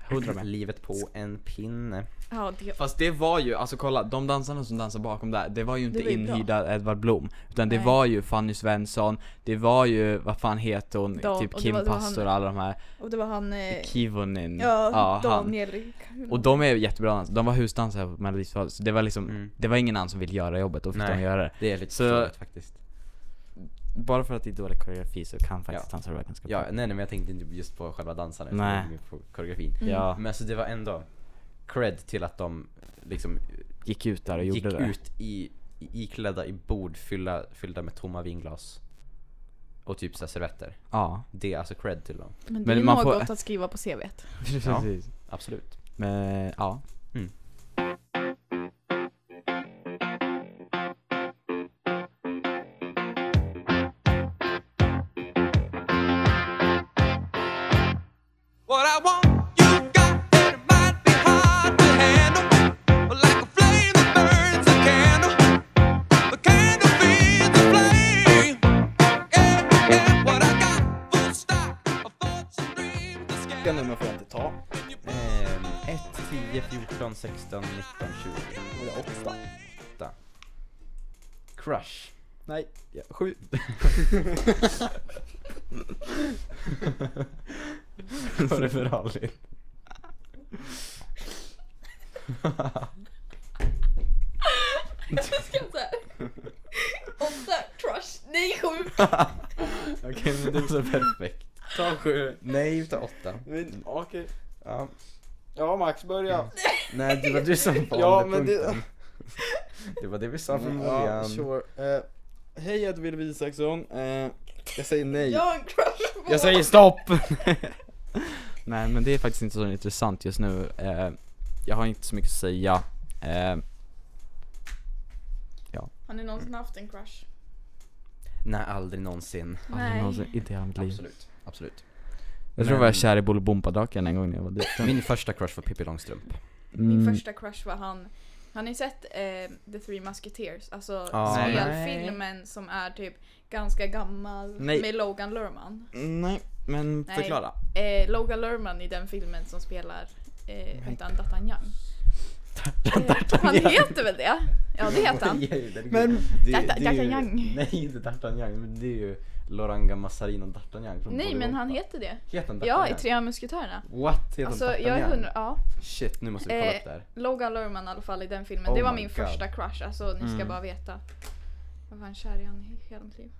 Hundra med.
Livet på en pinne.
Ja, det,
Fast det var ju, alltså kolla, de dansarna som dansar bakom där, det var ju inte
Det var ju bra.
inhyrda Edvard Blom. Utan det
Nej.
var ju Fanny Svensson, det var ju, vad fan heter hon,
Dan-
typ
och det
Kim
var- det var han-
Pastor och alla de här,
och det var han... Eh,
Kivonin.
ja,
han.
Daniel.
Och de är ju jättebra dansare, de var husdansare på Melodifestivalen, så det var liksom,
Mm.
det var ingen annan som ville göra jobbet, och fick
Nej.
de göra det.
Det är lite
Så-
sorgligt faktiskt.
Bara för att det är dålig koreografi så kan faktiskt
Ja.
dansare vara ganska
Ja,
bra.
nej, nej men jag tänkte inte just på själva dansarna utan
Nej.
jag tänkte på koreografin.
Mm.
Ja,
Men alltså det var ändå cred till att de liksom
gick ut där och
gick
gjorde det.
ut i, i, iklädda i bord fylla, fyllda med tomma vinglas. Och typ såhär servetter.
Ja,
Det är alltså cred till dem.
Men det
Men
är
man
något
får-
att skriva på CVt.
precis.
Absolut.
Men ja.
Mm.
What I want, you got, and it might be hard to handle. Like a flame that burns a candle, the candle feeds the flame. Yeah, yeah, what I got, full stop, a fortune dream, the sky.
nummer får jag inte ta.
Ehm, 1, 10, 14, 16, 19, 20.
Eller åtta.
8. Crush.
Nej, ja, sju.
Vad är det för rally?
Jag skrev såhär.
Oh,
Åtta, crush, nej sju.
Okej men det är så perfekt.
Ta sju.
Nej utan 8.
Men okej.
Ja.
Ja Max, börja.
Nej det var du som valde
Ja, men det-
punkten. Det... var det vi sa från
Ja,
början.
sure. Eh, Hej, jag heter Wilhelm Isaksson. Eh, jag säger nej.
Jag har en crush på
Jag säger stopp! Nej men det är faktiskt inte så intressant just nu. Eh, jag har inte så mycket att säga. Eh,
Har ni någonsin haft en crush?
Nej aldrig någonsin.
aldrig någonsin- inte i hela mitt liv.
Absolut. Absolut.
Jag tror jag var kär i Bolibompa-draken en gång när jag var liten.
Min första crush var Pippi Långstrump.
Min
Mm.
första crush var han. Har ni sett eh, The Three Musketeers? Alltså
Ja.
spelfilmen som är typ ganska gammal
Nej.
med Logan Lerman.
Nej, men
Nej.
förklara.
Eh, Logan Lerman i den filmen som spelar eh, heter han D'Artagnan? Eh, han heter väl det? Ja det heter han.
Men...
Darta- D'Artagnan.
Nej inte D'Artagnan, men det är ju Loranga Massarin och D'Artagnan från
Nej men
Bolibompa.
han heter det.
Heter han
Ja,
D'Artagnan?
i Tre musketörerna.
What? Heter han
Alltså jag är
D'Artagnan?
hundra, ja.
Shit, nu måste vi kolla upp det
Eh,
här.
Logan Lerman i alla fall i den filmen.
Oh
det var
my
min
God. Mm.
första crush, alltså ni ska bara veta. Jag var fan kär i han i hela mitt liv.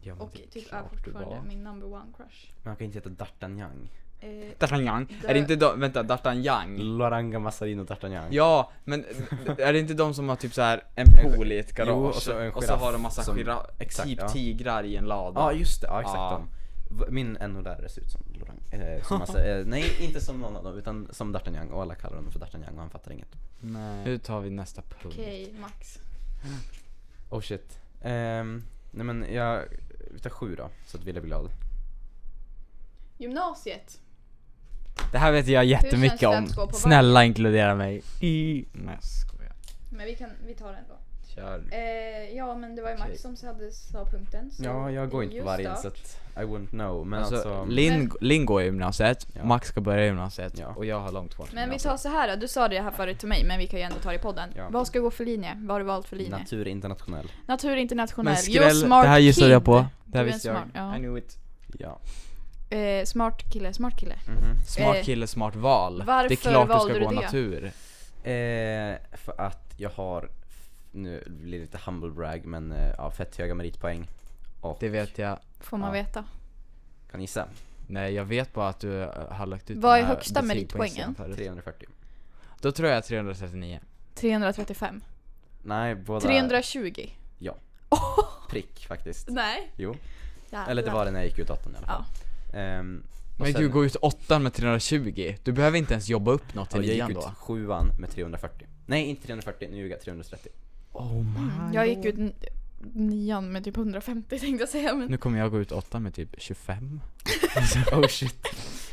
Ja, men
Och
det är
typ är
klart du var.
fortfarande min number one crush.
Men han kan inte heta D'Artagnan.
Eh,
D'Artagnan.
Där-
Är det inte de, vänta, D'Artagnan?
Loranga Massarin och D'Artagnan.
Ja, men är det inte de som har typ så här en pool i ett garage?
Jo, och så en
och så
giraff
har de massa
som-
giraff,
exakt,
typ
ja.
tigrar i en lada.
Ja ah, just det, ja exakt
Ja.
de. V- Min NO-lärare ser ut som Lorang. Eh, som alltså, eh, nej inte som någon av dem utan som D'Artagnan och alla kallar honom för D'Artagnan och han fattar inget.
Nu tar vi nästa punkt.
Okej, Max.
Oh shit. Ehm, nej men jag, vi tar sju då så att Wille blir glad.
Gymnasiet.
Det här vet jag
Hur känns
jättemycket
det
om.
att gå på
Snälla inkludera mig. I... Nej jag skojar.
Men vi, kan, vi tar den då.
Kör.
Eh, ja, men det var ju
Okej.
Max som hade, sa punkten. Så
Ja jag går inte
you
på vargen
start.
så att I wouldn't know men
Alltså,
alltså,
Linn Lin går i gymnasiet,
Ja.
Max ska börja i gymnasiet
Ja.
och jag har långt kvar till
Men vi
gymnasiet.
tar så här då. Du sa det här förut till mig, men vi kan ju ändå ta det i podden.
Alltså. Ja.
Vad ska gå för linje? Vad har du valt för linje?
Natur internationell.
Natur internationell.
Men
You're
skräll,
smart
det här gissade
kid.
jag på. Det här
Du är en
visste jag.
smart- ja.
I knew it.
Ja.
Eh, smart kille, smart kille.
Mhm.
Smart
Eh,
kille, smart val. det
varför
är klart du
valde
ska
du
gå
det?
natur.
Eh, för att jag har, nu blir det lite humble brag men eh, ja, fett höga meritpoäng. Och
Det vet jag.
Får man
Ja.
veta.
kan gissa?
Nej jag vet bara att du eh, har lagt ut
Vad
den
är
här
högsta
betyg på
meritpoängen?
Instagram förut.
340.
Då tror jag 339.
335.
Nej båda
320.
prick faktiskt.
Nej.
Jo.
Jävlar.
Eller det var det när jag gick ut åttan i alla fall. Ehm, och
Men
sen-
gud, gå ut åttan med 320. Du behöver inte ens jobba upp något
ja,
i
jag
nian
gick ut
då.
sjuan med 340. Nej inte 340, nu ljuger jag. 330.
Oh my.
Mm, Jag gick ut n- nian med typ 150 tänkte jag säga. Men,
Nu kommer jag gå ut åttan med typ 25.
oh shit.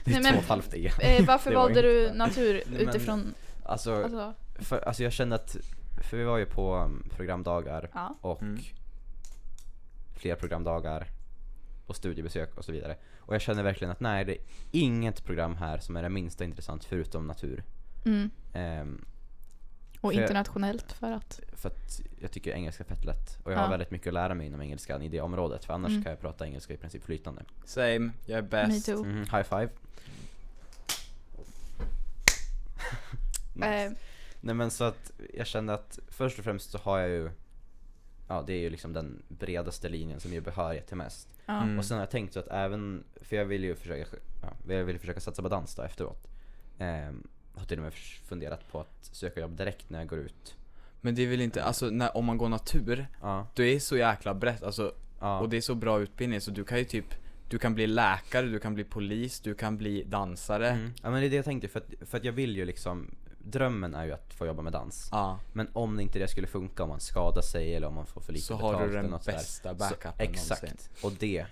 Det är
Nej, men-
två och ett halvt E.
eh, varför
Det var
valde
inte
du
bra.
natur
Nej, men-
utifrån?
Alltså,
Alltså,
för, alltså jag kände att, för vi var ju på um, programdagar
ja.
och fler programdagar och studiebesök och så vidare. Och jag känner verkligen att nej det är inget program här som är det minsta intressant förutom natur.
Mm.
Ehm,
Och
För-
internationellt för att?
För att jag tycker engelska är fett lätt och jag har
Ja.
väldigt mycket att lära mig inom engelskan i det området för annars
Mm.
kan jag prata engelska i princip flytande.
Same, jag är
Me
bäst.
too.
Mhm, High five. nice.
Eh,
Nej men så att jag kände att först och främst så har jag ju Ja det är ju liksom den bredaste linjen som ger behörighet till mest.
ja.
Mm.
Och sen har jag tänkt så att även, för jag vill ju försöka, ja, jag vill försöka satsa på dans då efteråt. Ehm, har till och med funderat på att söka jobb direkt när jag går ut.
Men det är väl inte, alltså när, om man går natur,
Ja,
du är så jäkla brett alltså,
ja.
och det är så bra utbildning så du kan ju typ du kan bli läkare, du kan bli polis, du kan bli dansare.
Mm. Ja men det är det jag tänkte för att, för att jag vill ju liksom Drömmen är ju att få jobba med dans.
Ja,
Men om inte det skulle funka, om man skadar sig eller om man får för lite
så
betalt
har du
eller
den
något sådär.
bästa
Så-
backupen
Exakt.
någonsin.
Och det.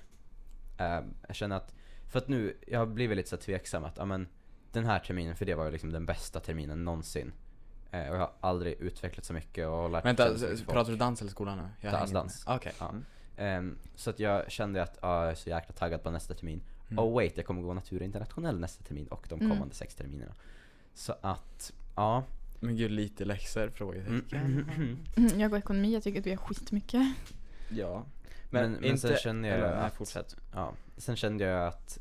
eh, jag känner att, för att nu, jag har blivit lite så här tveksam att, ja men den här terminen, för det var ju liksom den bästa terminen någonsin. Eh, och jag har aldrig utvecklat så mycket och lärt
Vänta,
känna så mycket folk.
pratar du dans eller skolan nu? Jag
Dans,
hänger inte
dans.
med. Okej.
Ja.
Mm.
Ehm, så att jag kände att ah, jag är så jäkla taggad på nästa termin.
Mm.
Oh wait, jag kommer gå natur internationell nästa termin och de
Mm.
kommande sex terminerna. Så att, ja.
Men gud, lite läxor? Frågetecken.
Mm, Jag går ekonomi, jag tycker att vi har skitmycket.
Ja.
Men, men sen kände jag
eller, nej,
att,
fortsätt.
ja, sen kände jag att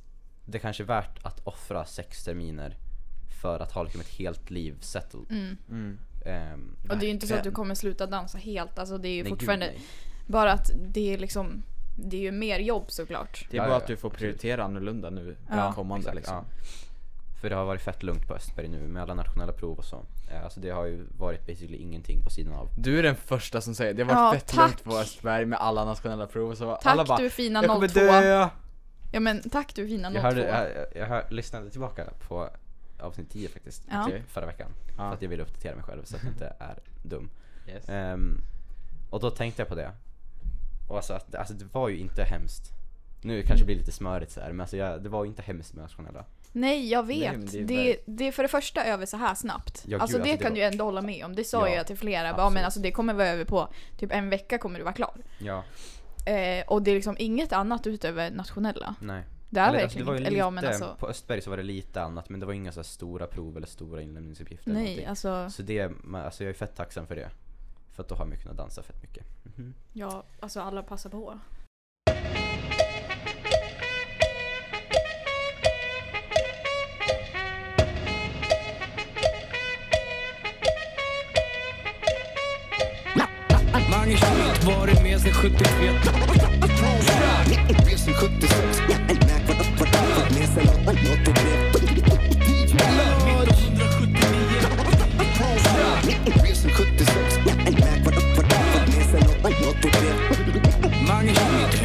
det kanske är värt att offra sex terminer för att ha liksom ett helt liv settled.
Mm.
Mm.
Ehm,
Och det är ju inte så att du
verkligen.
kommer sluta dansa helt. Alltså det är ju
Nej, gud,
fortfarande
nej.
bara att det är liksom det är ju mer jobb såklart.
Det är
Ja,
bara
ja,
att du får
absolut.
prioritera annorlunda nu,
Ja,
kommande
Exakt,
liksom.
ja. För det har varit fett lugnt på Östberg nu med alla nationella prov och så. Eh, Alltså det har ju varit basically ingenting på sidan av.
Du är den första som säger det, det har
Ja,
varit fett
tack.
lugnt på Östberg med alla nationella prov och så
Tack
alla bara
du fina
Jag kommer
02.
dö!
Ja men tack du fina 02.
Jag, hörde, jag, jag, jag hör, lyssnade tillbaka på avsnitt 10 faktiskt,
Ja.
Okej.
förra veckan. För
Ja.
att jag ville uppdatera mig själv så att jag inte är dum.
Yes.
Ehm, och då tänkte jag på det. Och alltså, att, alltså det var ju inte hemskt. Nu kanske det blir lite smörigt så här, men alltså jag, det var ju inte hemskt med Nationella.
Nej, jag vet.
Nej, men det
det,
är
det, är för det första över så här snabbt.
Ja,
alltså
gud,
det
alltså, det
kan
var-
du ändå hålla med om. Det sa
Ja,
jag till flera. Bara,
absolut.
men alltså det kommer vara över på typ en vecka kommer du vara klar.
Ja,
Eh, och det är liksom inget annat utöver nationella.
nej.
Det är
Eller, alltså,
verkligen
det var ju
inte. Eller ja men
lite-
alltså.
På Östberg så var det lite annat men det var inga så här stora prov eller stora inlämningsuppgifter. eller
Nej,
någonting.
alltså.
Så det, men alltså jag är fett tacksam för det. För att då har man ju kunnat dansa fett mycket. Mhm.
Ja, alltså alla passar på.
Magnus Schmidt varit med sedan 71 Magnus Schmidt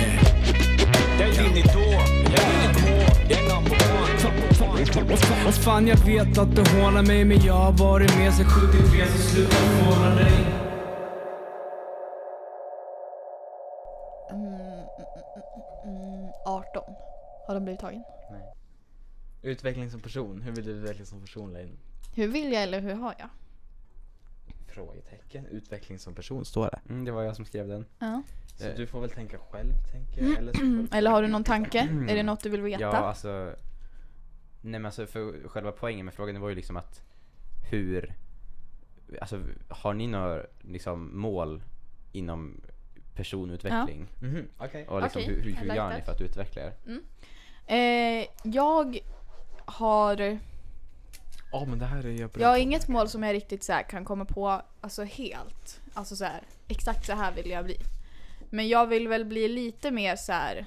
Jag är din idol, jag är din idol, jag är number one Och fan jag vet att du hånar mig men jag har varit med sedan 73 så sluta håna dig
Mm, mm, mm, 18. Har de blivit tagen?
Utveckling som person, hur vill du utvecklas som person Lin?
Hur vill jag eller hur har jag?
Frågetecken, utveckling som person står det.
Mm, det var jag som skrev den.
Ja.
Så
Eh.
du får väl tänka själv tänker jag. Eller, så får du-
Mm, Eller har du någon tanke? Är det något du vill veta?
Mm. Ja, alltså. Nej men alltså för själva poängen med frågan det var ju liksom att hur, alltså har ni några liksom mål inom personutveckling?
Mhm, okej.
Och liksom
Okej,
hur,
I
hur, hur
like
gör ni
that.
för att utveckla er?
Eh, jag har...
Ja men det här är jag bra
Jag har
på.
inget mål som jag riktigt så här kan komma på alltså helt. Alltså så här, exakt så här vill jag bli. Men jag vill väl bli lite mer så här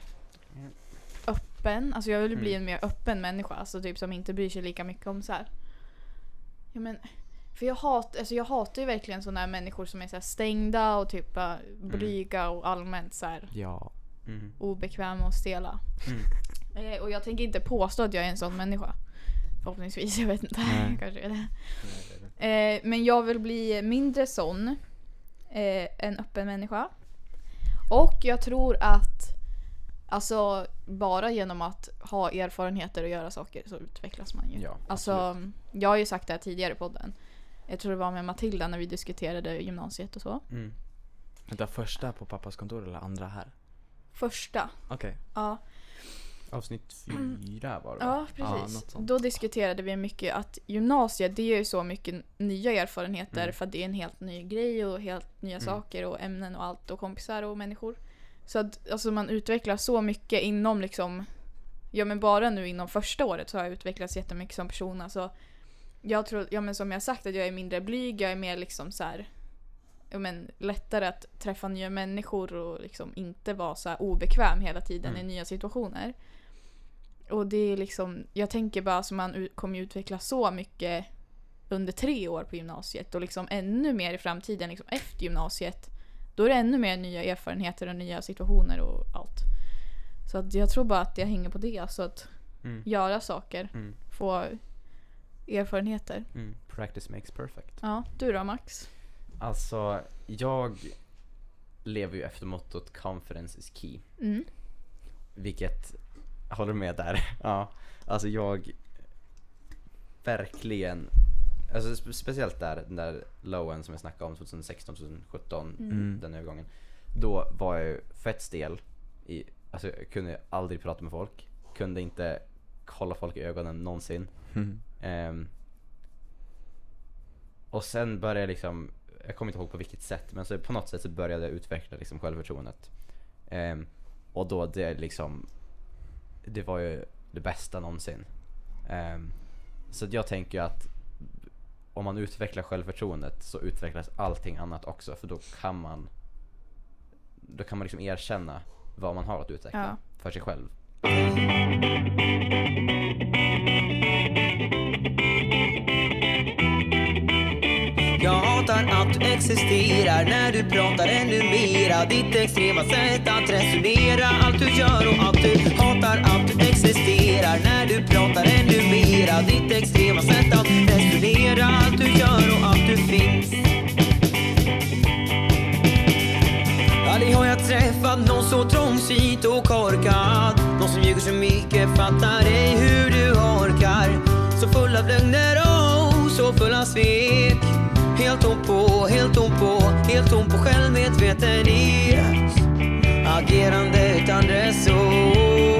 öppen. Alltså jag vill bli
Mm.
en mer öppen människa. Alltså typ som inte bryr sig lika mycket om så här. Ja men, för jag, hat, alltså jag hatar ju verkligen sådana här människor som är så här stängda och typ bara
Mm.
blyga och allmänt så här
Ja.
Mm.
obekväma och stela. Eh, och jag tänker inte påstå att jag är en sån människa. Förhoppningsvis, jag vet inte.
Nej.
Kanske är det. Eh, men jag vill bli mindre sån. Eh, en öppen människa. Och jag tror att alltså bara genom att ha erfarenheter och göra saker så utvecklas man ju.
Ja,
alltså, jag har ju sagt det här tidigare i podden. Jag tror det var med Matilda när vi diskuterade gymnasiet och så.
Mm.
Vänta, första på pappas kontor eller andra här?
Första.
Okej.
Ja.
Avsnitt fyra var det va?
Ja,
något
precis.
sånt.
Då diskuterade vi mycket att gymnasiet, det är ju så mycket nya erfarenheter
Mm.
för att det är en helt ny grej och helt nya saker och ämnen och allt och kompisar och människor. Så att alltså, man utvecklas så mycket inom liksom, ja men bara nu inom första året så har jag utvecklats jättemycket som person. Alltså, jag tror, ja men som jag sagt att jag är mindre blyg, jag är mer liksom så här, ja men lättare att träffa nya människor och liksom inte vara så här obekväm hela tiden
Mm.
i nya situationer. Och det är liksom, jag tänker bara att man u- kommer ju utvecklas så mycket under tre år på gymnasiet och liksom ännu mer i framtiden, liksom efter gymnasiet. Då är det ännu mer nya erfarenheter och nya situationer och allt. Så att jag tror bara att jag hänger på det, alltså att
Mm.
göra saker,
Mm.
få erfarenheter.
Mm. Practice makes perfect.
Ja, du då Max?
Alltså, jag lever ju efter mottot 'conference is key'
Mm.
Vilket, håller du med där? Ja. Alltså jag verkligen, alltså spe- speciellt där, den där lowen som jag snackade om 2016, 2017,
Mm.
Mm.
den övergången. Då var jag ju fett stel. I, alltså jag kunde aldrig prata med folk. Kunde inte kolla folk i ögonen någonsin.
Mm.
Ehm, och sen började jag liksom, jag kommer inte ihåg på vilket sätt, men så på något sätt så började jag utveckla liksom självförtroendet. Ehm, och då det liksom, det var ju det bästa någonsin. Ehm, så att jag tänker ju att om man utvecklar självförtroendet så utvecklas allting annat också för då kan man då kan man liksom erkänna vad man har att utveckla
Ja.
för sig själv.
Jag hatar att du existerar när du pratar ännu mera Ditt extrema sätt att resonera Allt du gör och allt du hatar att du existerar när du pratar ännu mera Ditt extrema sätt att resonera Allt du gör och allt du finns Aldrig har jag träffat någon så trångsynt och korkad som ljuger så mycket fattar ej hur du orkar Så full av lögner, oh, så full av svek Helt tom på, helt tom på, helt tom på självmedvetenhet Agerande utan reson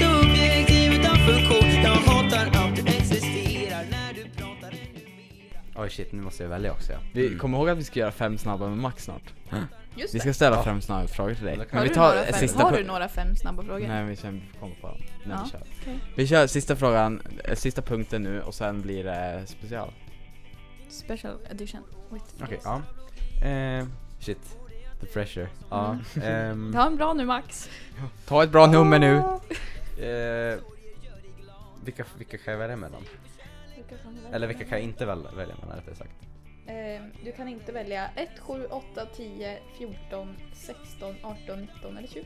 Subjektiv utan funktion Jag hatar att du existerar när du pratar ännu mer
Oj shit, nu måste jag välja också ja.
Vi kommer ihåg att vi ska göra fem snabba med Max snart.
Just
Vi
det.
ska ställa fem snabba frågor till dig.
Har
Har,
vi
du, några
eh,
fem,
sista
har
pu-
du några fem snabba frågor?
Nej vi känner vi kommer på dem. Nej,
Ja,
vi, kör.
okej.
vi kör sista frågan, eh, sista punkten nu och sen blir det special.
Special edition. with
Okej,
Frost.
ja. Eh, shit. The pressure. Ja. ehm,
Ta en bra nu Max.
Ta ett bra nummer nu.
eh, vilka, vilka kan jag välja mellan? Eller vilka kan jag inte väl, välja mellan rättare sagt?
Eh, Du kan inte välja 1, 7, 8, 10, 14, 16, 18, 19 eller 20.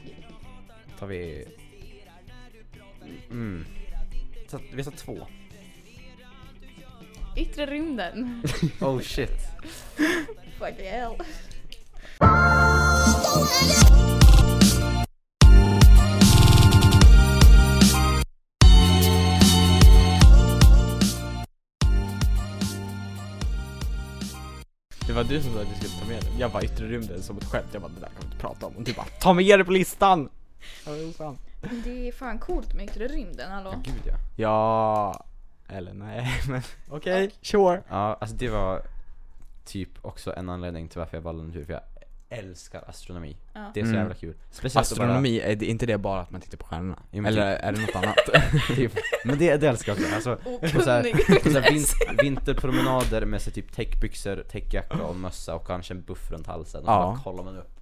Tar vi... Mm. Så, vi tar två.
Yttre rymden.
Oh shit.
Fuck hell.
Det var du som sa att vi skulle ta med det. Jag bara yttre rymden som ett skämt. Jag bara det där kan vi inte prata om. Och du bara ta med det på listan! Ja, det är sant.
Det är fan coolt med yttre rymden, hallå.
Gud ja.
Ja, eller nej men okej, sure.
Ja, alltså det var typ också en anledning till varför jag valde natur, för jag älskar astronomi.
Ja.
Det är så
Mm.
jävla kul. Speciellt att
Astronomi, är det inte det bara att man tittar på stjärnorna?
Jo, men
Eller
typ.
är det något annat?
Bara, typ, men det, det älskar jag också. Alltså, på så här,
Okunnig.
på så här vin, vinterpromenader med sig typ täckbyxor, täckjacka och mössa och kanske en buff runt halsen. Och så
Ja.
bara kollar man upp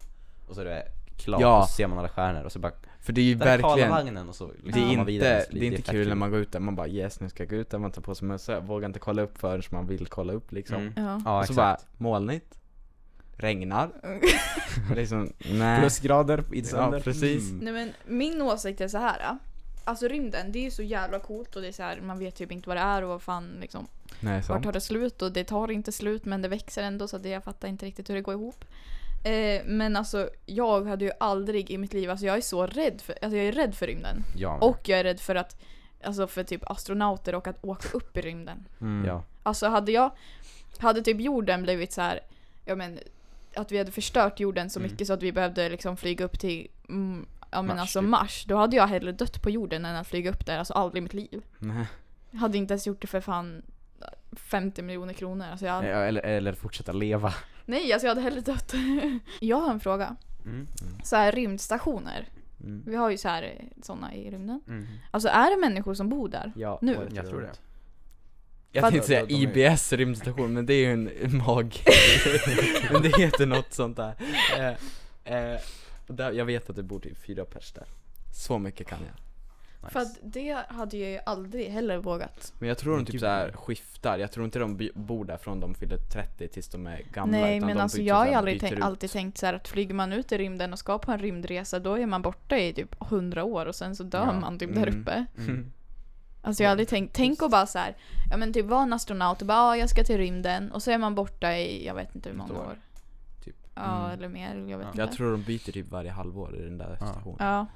och så är det klart
Ja.
och så ser man alla stjärnor och så bara
För det är ju
där är
verkligen,
Karlavagnen och så liksom
det är
går man vidare,
inte,
så
det är inte
fett
kul när man går ut där, man bara yes nu ska jag gå ut där, man tar på sig mössa, vågar inte kolla upp förrän man vill kolla upp liksom.
Mm.
Ja.
Ja,
och så
exakt.
bara molnigt, regnar, liksom nej.
Plusgrader i
december. Mm.
Nej men min åsikt är så här. ja. Alltså rymden, det är ju så jävla coolt och det är så här, man vet typ inte vad det är och vad fan liksom.
nej sant.
Vart tar det slut? Och det tar inte slut men det växer ändå så att jag fattar inte riktigt hur det går ihop. Eh, men alltså jag hade ju aldrig i mitt liv, alltså jag är så rädd för, alltså jag är rädd för rymden.
Ja, men-
Och jag är rädd för att, alltså för typ astronauter och att åka upp i rymden.
Mm.
ja.
Alltså hade jag, hade typ jorden blivit så här, ja men att vi hade förstört jorden så mycket så att vi behövde liksom flyga upp till mm, ja, men
Mm. Mars,
alltså
typ.
Mars, då hade jag hellre dött på jorden än att flyga upp där, alltså aldrig i mitt liv.
Nej.
Jag hade inte ens gjort det för fan 50 miljoner kronor. Alltså jag hade,
Ja, Eh, Eller, eller fortsätta leva.
Nej, alltså jag hade hellre dött. jag har en fråga.
Mm.
Så här rymdstationer.
Mm.
Vi har ju så här eh, såna i rymden.
Mm.
Alltså är det människor som bor där?
Ja,
Nu.
året
Jag tror
runt.
det.
Jag
Fast-
tänkte säga
De- de är-
IBS rymdstation men det är ju en mag... men det heter något sånt där. Eh, eh, och där. Jag vet att det bor typ fyra pers där. Så mycket kan jag.
Nice.
För att det hade jag ju aldrig heller vågat.
Men jag tror de
Men
typ
gud.
såhär skiftar, jag tror inte de by- bor där från de fyller 30 tills de är gamla
Nej
utan
men
de
alltså
byter
jag har
så
ju
här,
aldrig
byter
tänkt,
ut.
alltid tänkt så här att flyger man ut i rymden och ska på en rymdresa då är man borta i typ 100 år och sen så dör
Ja,
man typ
mm.
där uppe.
Mm.
Alltså jag har aldrig tänkt, tänk och bara så här, ja men typ vara en astronaut och bara ah, jag ska till rymden och så är man borta i jag vet inte hur
Ett
många
år,
år.
typ.
Ja
Mm.
eller mer, jag vet
Ja.
inte.
Jag tror de byter typ varje halvår i den där
Ja.
stationen.
Ja.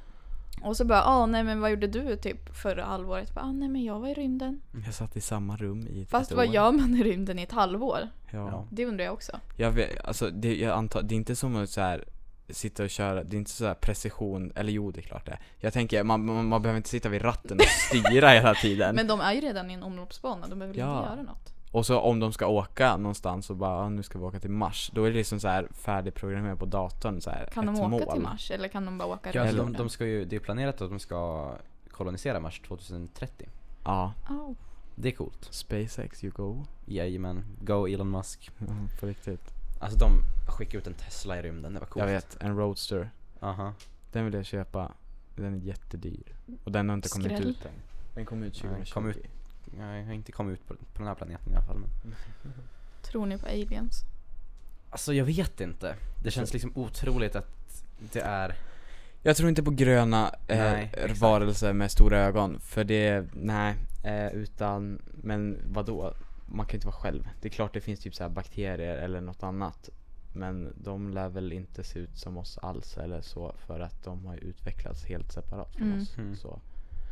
Och så bara ah nej men vad gjorde du typ förra halvåret? Bara, ah, nej men jag var i rymden.
Jag satt i samma rum i ett
Fast
år.
vad gör man i rymden i ett halvår?
Ja.
Ja.
Det undrar jag också.
Jag vet, alltså det, jag antar, det är inte som att så här sitta och köra, det är inte så här precision, eller jo det är klart det är. Jag tänker, man, man, man behöver inte sitta vid ratten och styra hela tiden.
Men de är ju redan i en omloppsbana, de behöver väl
Ja.
inte göra något.
Och så om de ska åka någonstans och bara, "Ah, nu ska vi åka till Mars. Då är det liksom så här färdigprogrammerat på datorn så här,
Kan de
ett
åka
mål.
till Mars eller kan de bara åka runt
Ja, alltså de,
jorden?
de ska ju, det är planerat att de ska kolonisera Mars 2030.
Ja,
Au.
Det är coolt.
SpaceX you go.
Jajamän. Go Elon Musk.
Mm, på riktigt.
Alltså de skickade ut en Tesla i rymden, det var coolt.
Jag vet, en Roadster.
Aha.
Den vill jag köpa. Den är jättedyr. Och den har inte kommit
Skräll.
ut än. Den kom ut
Nej,
2020.
kom ut. Jag har inte kommit ut på, på den här planeten i alla fall men.
Tror ni på aliens?
Alltså jag vet inte. Det känns liksom otroligt att det är...
Jag tror inte på gröna
Nej,
eh,
exakt.
varelser med stora ögon, för det, nej, eh, utan, men vadå? Man kan ju inte vara själv. Det är klart det finns typ så här bakterier eller något annat. Men de lär väl inte se ut som oss alls eller så för att de har ju utvecklats helt separat från
Mm.
oss.
Mm.
Så.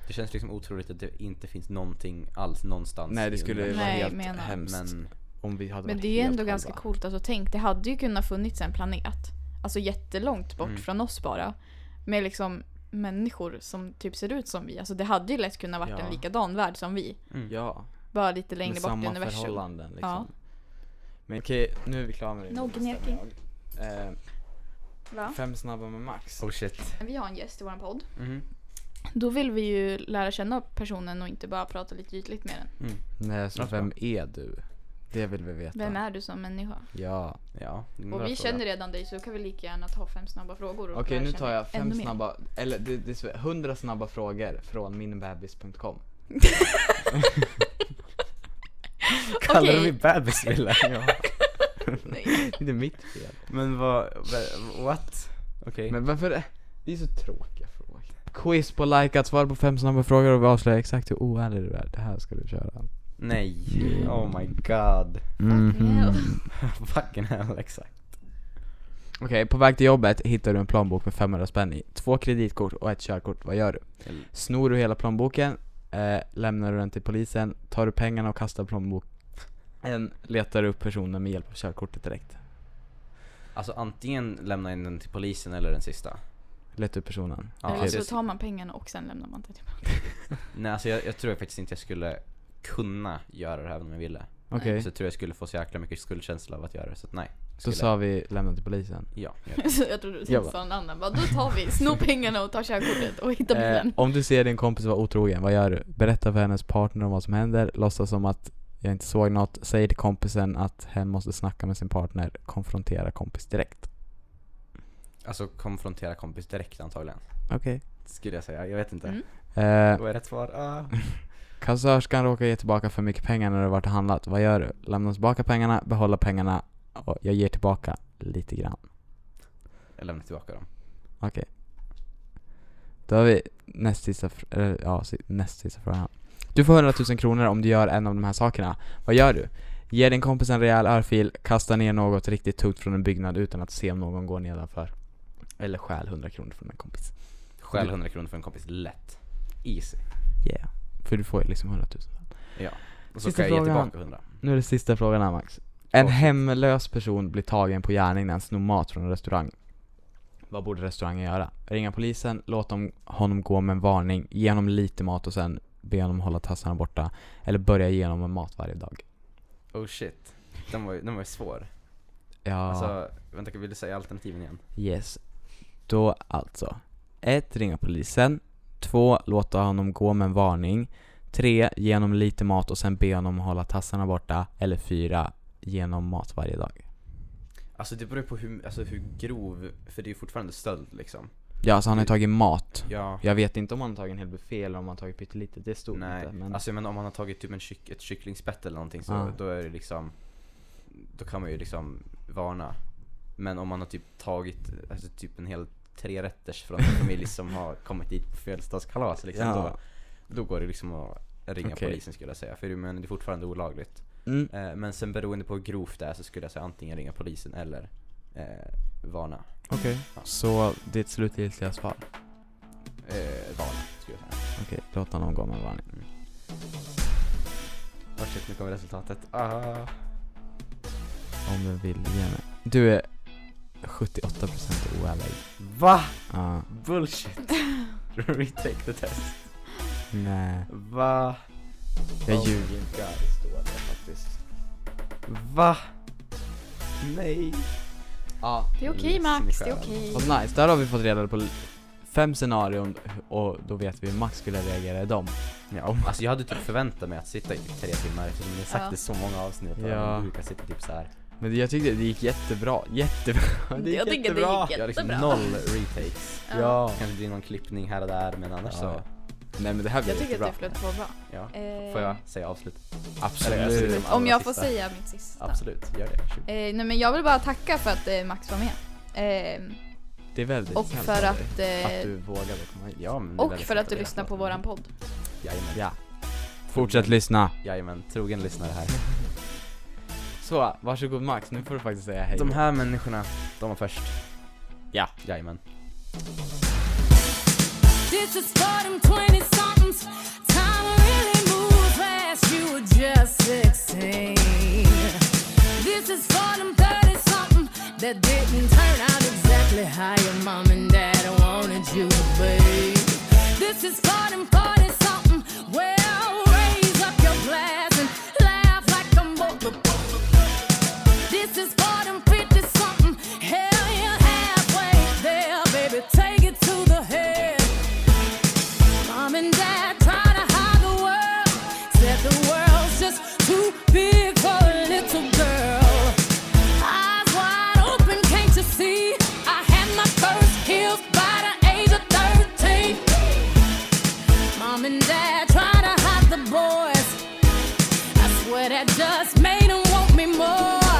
Det känns liksom otroligt att det inte finns någonting alls någonstans
Nej det
i
skulle vara
universum.
Nej,
helt
menar.
hemskt
Men
om vi hade
Men
varit
det är ju
helt
ändå ganska
själva.
coolt. Alltså tänk, det hade ju kunnat funnits en planet. Alltså jättelångt bort
Mm.
från oss bara. Med liksom människor som typ ser ut som vi. Alltså det hade ju lätt kunnat varit
Ja.
en likadan värld som vi.
mm.
Ja,
Bara lite längre
med
bort i
samma
universum.
förhållanden liksom.
Ja.
Men okej, nu är vi klara med det.
No gnäking.
Eh,
Va?
fem snabba med Max.
Oh shit.
Vi har en gäst i vår podd.
Mm.
Då vill vi ju lära känna personen och inte bara prata lite ytligt med den.
Nej, så
Låter
vem är du? Det vill vi veta.
Vem är du som människa?
Ja.
Ja, det är en
Och
bra
vi
fråga.
känner redan dig så kan vi lika gärna ta fem snabba frågor. och
Okej,
lära
nu
känna
tar jag fem
ännu mer.
snabba, eller det, det, är så- 100 snabba frågor från minbebis.com.
Kallar Okej. vi
bebis Wille?
Nej.
Det är mitt fel.
Men vad, vad- what? Okej.
Men varför är det är så tråkiga frågor. Quiz på like, att svara på fem snabba frågor och vi avslöjar exakt hur oärlig du är. Det här ska du köra.
Nej, oh my god.
Fucking hell.
Fucking hell, exakt.
Okej, på väg till jobbet hittar du en plånbok med 500 spänn i, två kreditkort och ett körkort. Vad gör du?
Mm.
Snor du hela plånboken? Eh, lämnar du den till polisen? Tar du pengarna och kastar plånboken? Letar du upp personen med hjälp av körkortet direkt?
Alltså antingen lämna in den till polisen eller den sista.
Letar upp personen?
Ja,
Eller
Okej.
så alltså, tar man pengarna och sen lämnar man det tillbaka.
Nej alltså jag, jag tror faktiskt inte jag skulle kunna göra det här även om jag ville.
Okej,
Så jag tror jag skulle få så jäkla mycket skuldkänsla av att göra det så att nej.
så
skulle-
sa vi lämna till polisen.
Ja, gör det.
Så jag trodde du
Jag
tänkte
bara-
sa en annan. Bara, då tar vi, snor pengarna och tar körkortet och hittar
Eh,
bilen.
om du ser din kompis vara otrogen, vad gör du? Berätta för hennes partner om vad som händer, låtsas som att jag inte såg något, säg till kompisen att hen måste snacka med sin partner, konfrontera kompis direkt.
Alltså konfrontera kompis direkt antagligen.
Okej.
Skulle jag säga, jag vet inte.
Mm.
Eh,
Vad är rätt svar? Ah.
kassörskan råkar ge tillbaka för mycket pengar när du har varit och handlat, vad gör du? Lämna tillbaka pengarna, behålla pengarna och jag ger tillbaka lite grann.
Jag lämnar tillbaka dem.
Okej. Då har vi näst sista, fr- eller, ja, si- näst sista frågan. Du får 100 000 kronor om du gör en av de här sakerna. Vad gör du? Ge din kompis en rejäl örfil, kasta ner något riktigt tungt från en byggnad utan att se om någon går nedanför. Eller stjäl 100 kronor från en kompis.
Stjäl 100 kronor från en kompis lätt. Easy.
Yeah. För du får ju liksom 100 000.
Ja. Och så
Sista
ska jag ge
frågan.
tillbaka 100.
Nu är det sista frågan här Max. En
Åh, shit.
hemlös person blir tagen på gärning när han snor mat från en restaurang. Vad borde restaurangen göra? Ringa polisen, låt dem, honom gå med en varning, ge honom lite mat och sen be honom hålla tassarna borta. Eller börja ge honom mat varje dag.
Oh shit. Den var ju, den var ju svår.
Ja,
Alltså, vänta, vill du säga alternativen igen?
yes. Då alltså. 1. Ringa polisen. 2. Låta honom gå med en varning. 3. Ge honom lite mat och sen be honom hålla tassarna borta. Eller 4. Ge honom mat varje dag.
Alltså det beror ju på hur, alltså, hur grov, för det är ju fortfarande stöld liksom.
Ja, alltså han har ju tagit mat.
Ja.
Jag vet inte om han tagit en hel buffé eller om han tagit pyttelite, det stod
Nej,
inte. Men
alltså men om man har tagit typ en kyck, ett kycklingspett eller någonting så
Ja.
då är det liksom Då kan man ju liksom varna Men om man har typ tagit alltså, typ en hel trerätters från en familj som har kommit dit på födelsedagskalas liksom,
Ja.
då, då går det liksom att ringa
Okej.
polisen skulle jag säga, för det- men det är fortfarande olagligt
mm,
eh, Men sen beroende på hur grovt det är så skulle jag säga antingen ringa polisen eller eh, varna
okej. Så ditt slutgiltiga svar?
eh, Varna skulle jag säga
Okej, låt honom gå med en varning.
Oh shit, nu kommer resultatet ah.
Om du vill ge mig. Du är 78% oärlig.
Va?
Ja,
Bullshit. Retake the test.
nej.
Va?
Jag
Oh
ljuger.
my God, det står där faktiskt. Va? Nej.
Ja,
Det är okej Max, det är okej.
vad nice. Där har vi fått reda på l- fem scenarion och då vet vi hur Max skulle reagera i dem.
Ja, alltså jag hade typ förväntat mig att sitta i typ tre timmar eftersom ni har sagt
Ja.
det i så många avsnitt. och
Ja.
Du brukar sitta typ så här.
Men jag tyckte det gick jättebra. Jättebra. Det gick
Jag tycker det
jättebra.
gick
Jag har liksom
Jättebra.
noll retakes.
Ja.
Kanske blir någon klippning här och där men annars
Ja.
så.
Nej men det här blir
Jag tycker
jättebra.
att det flöt på bra.
Ja.
Eh,
Får jag säga avslut?
Absolut.
Eller, alltså, det är de
Om
allra
jag får
sista.
säga mitt sista.
Absolut, gör det. Varsågod.
Eh, nej, men jag vill bara tacka för att eh, Max var med. Eh,
Det är väldigt
och
snällt
för
av dig.
att, eh,
Att du vågade komma hit.
Ja, men liksom det är
och
väldigt
för
fint
att du
veta.
lyssnar på våran podd.
Jajamän.
Ja. Fortsätt lyssna.
Jajamän, trogen lyssnare här.
Så, varsågod Max, nu får du faktiskt säga hej.
De här människorna, de var först. Ja, jajamän.
This is for them 20 somethings. Time really moves fast. You were just 16. This is for them 30 something that didn't turn out exactly how your mom and dad wanted you to be. This is for them 40 something. Well, raise up your glass and laugh like a mother. This is for them 50 something. Hell, you're halfway there, baby. Take it to the head. Mom and dad try to hide the world. Said the world's just too big for a little girl. Eyes wide open, can't you see? I had my first kiss by the age of 13. Mom and dad try to hide the boys. I swear that just made them want me more.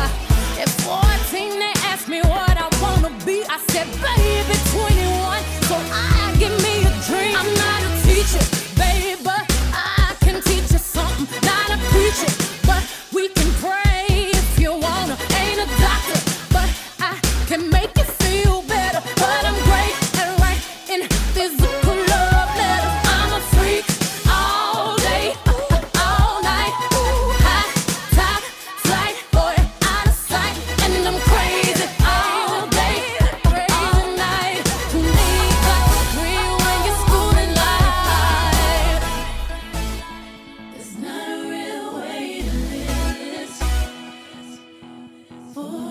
At 14, they asked me what I wanna be. I said, baby, 21. So I give me a dream. I'm not a teacher, baby, but I can teach you something. Not a preacher, but we can pray if you wanna. Ain't a doctor, but I can make you feel better. But I'm great and right in physical love letters. I'm a freak all day, all night. Ooh, high top flight, boy, out of sight, and I'm crazy all day, all night. To me, like a dream when you're schooling life. It's not a real way to live. It's for Oh,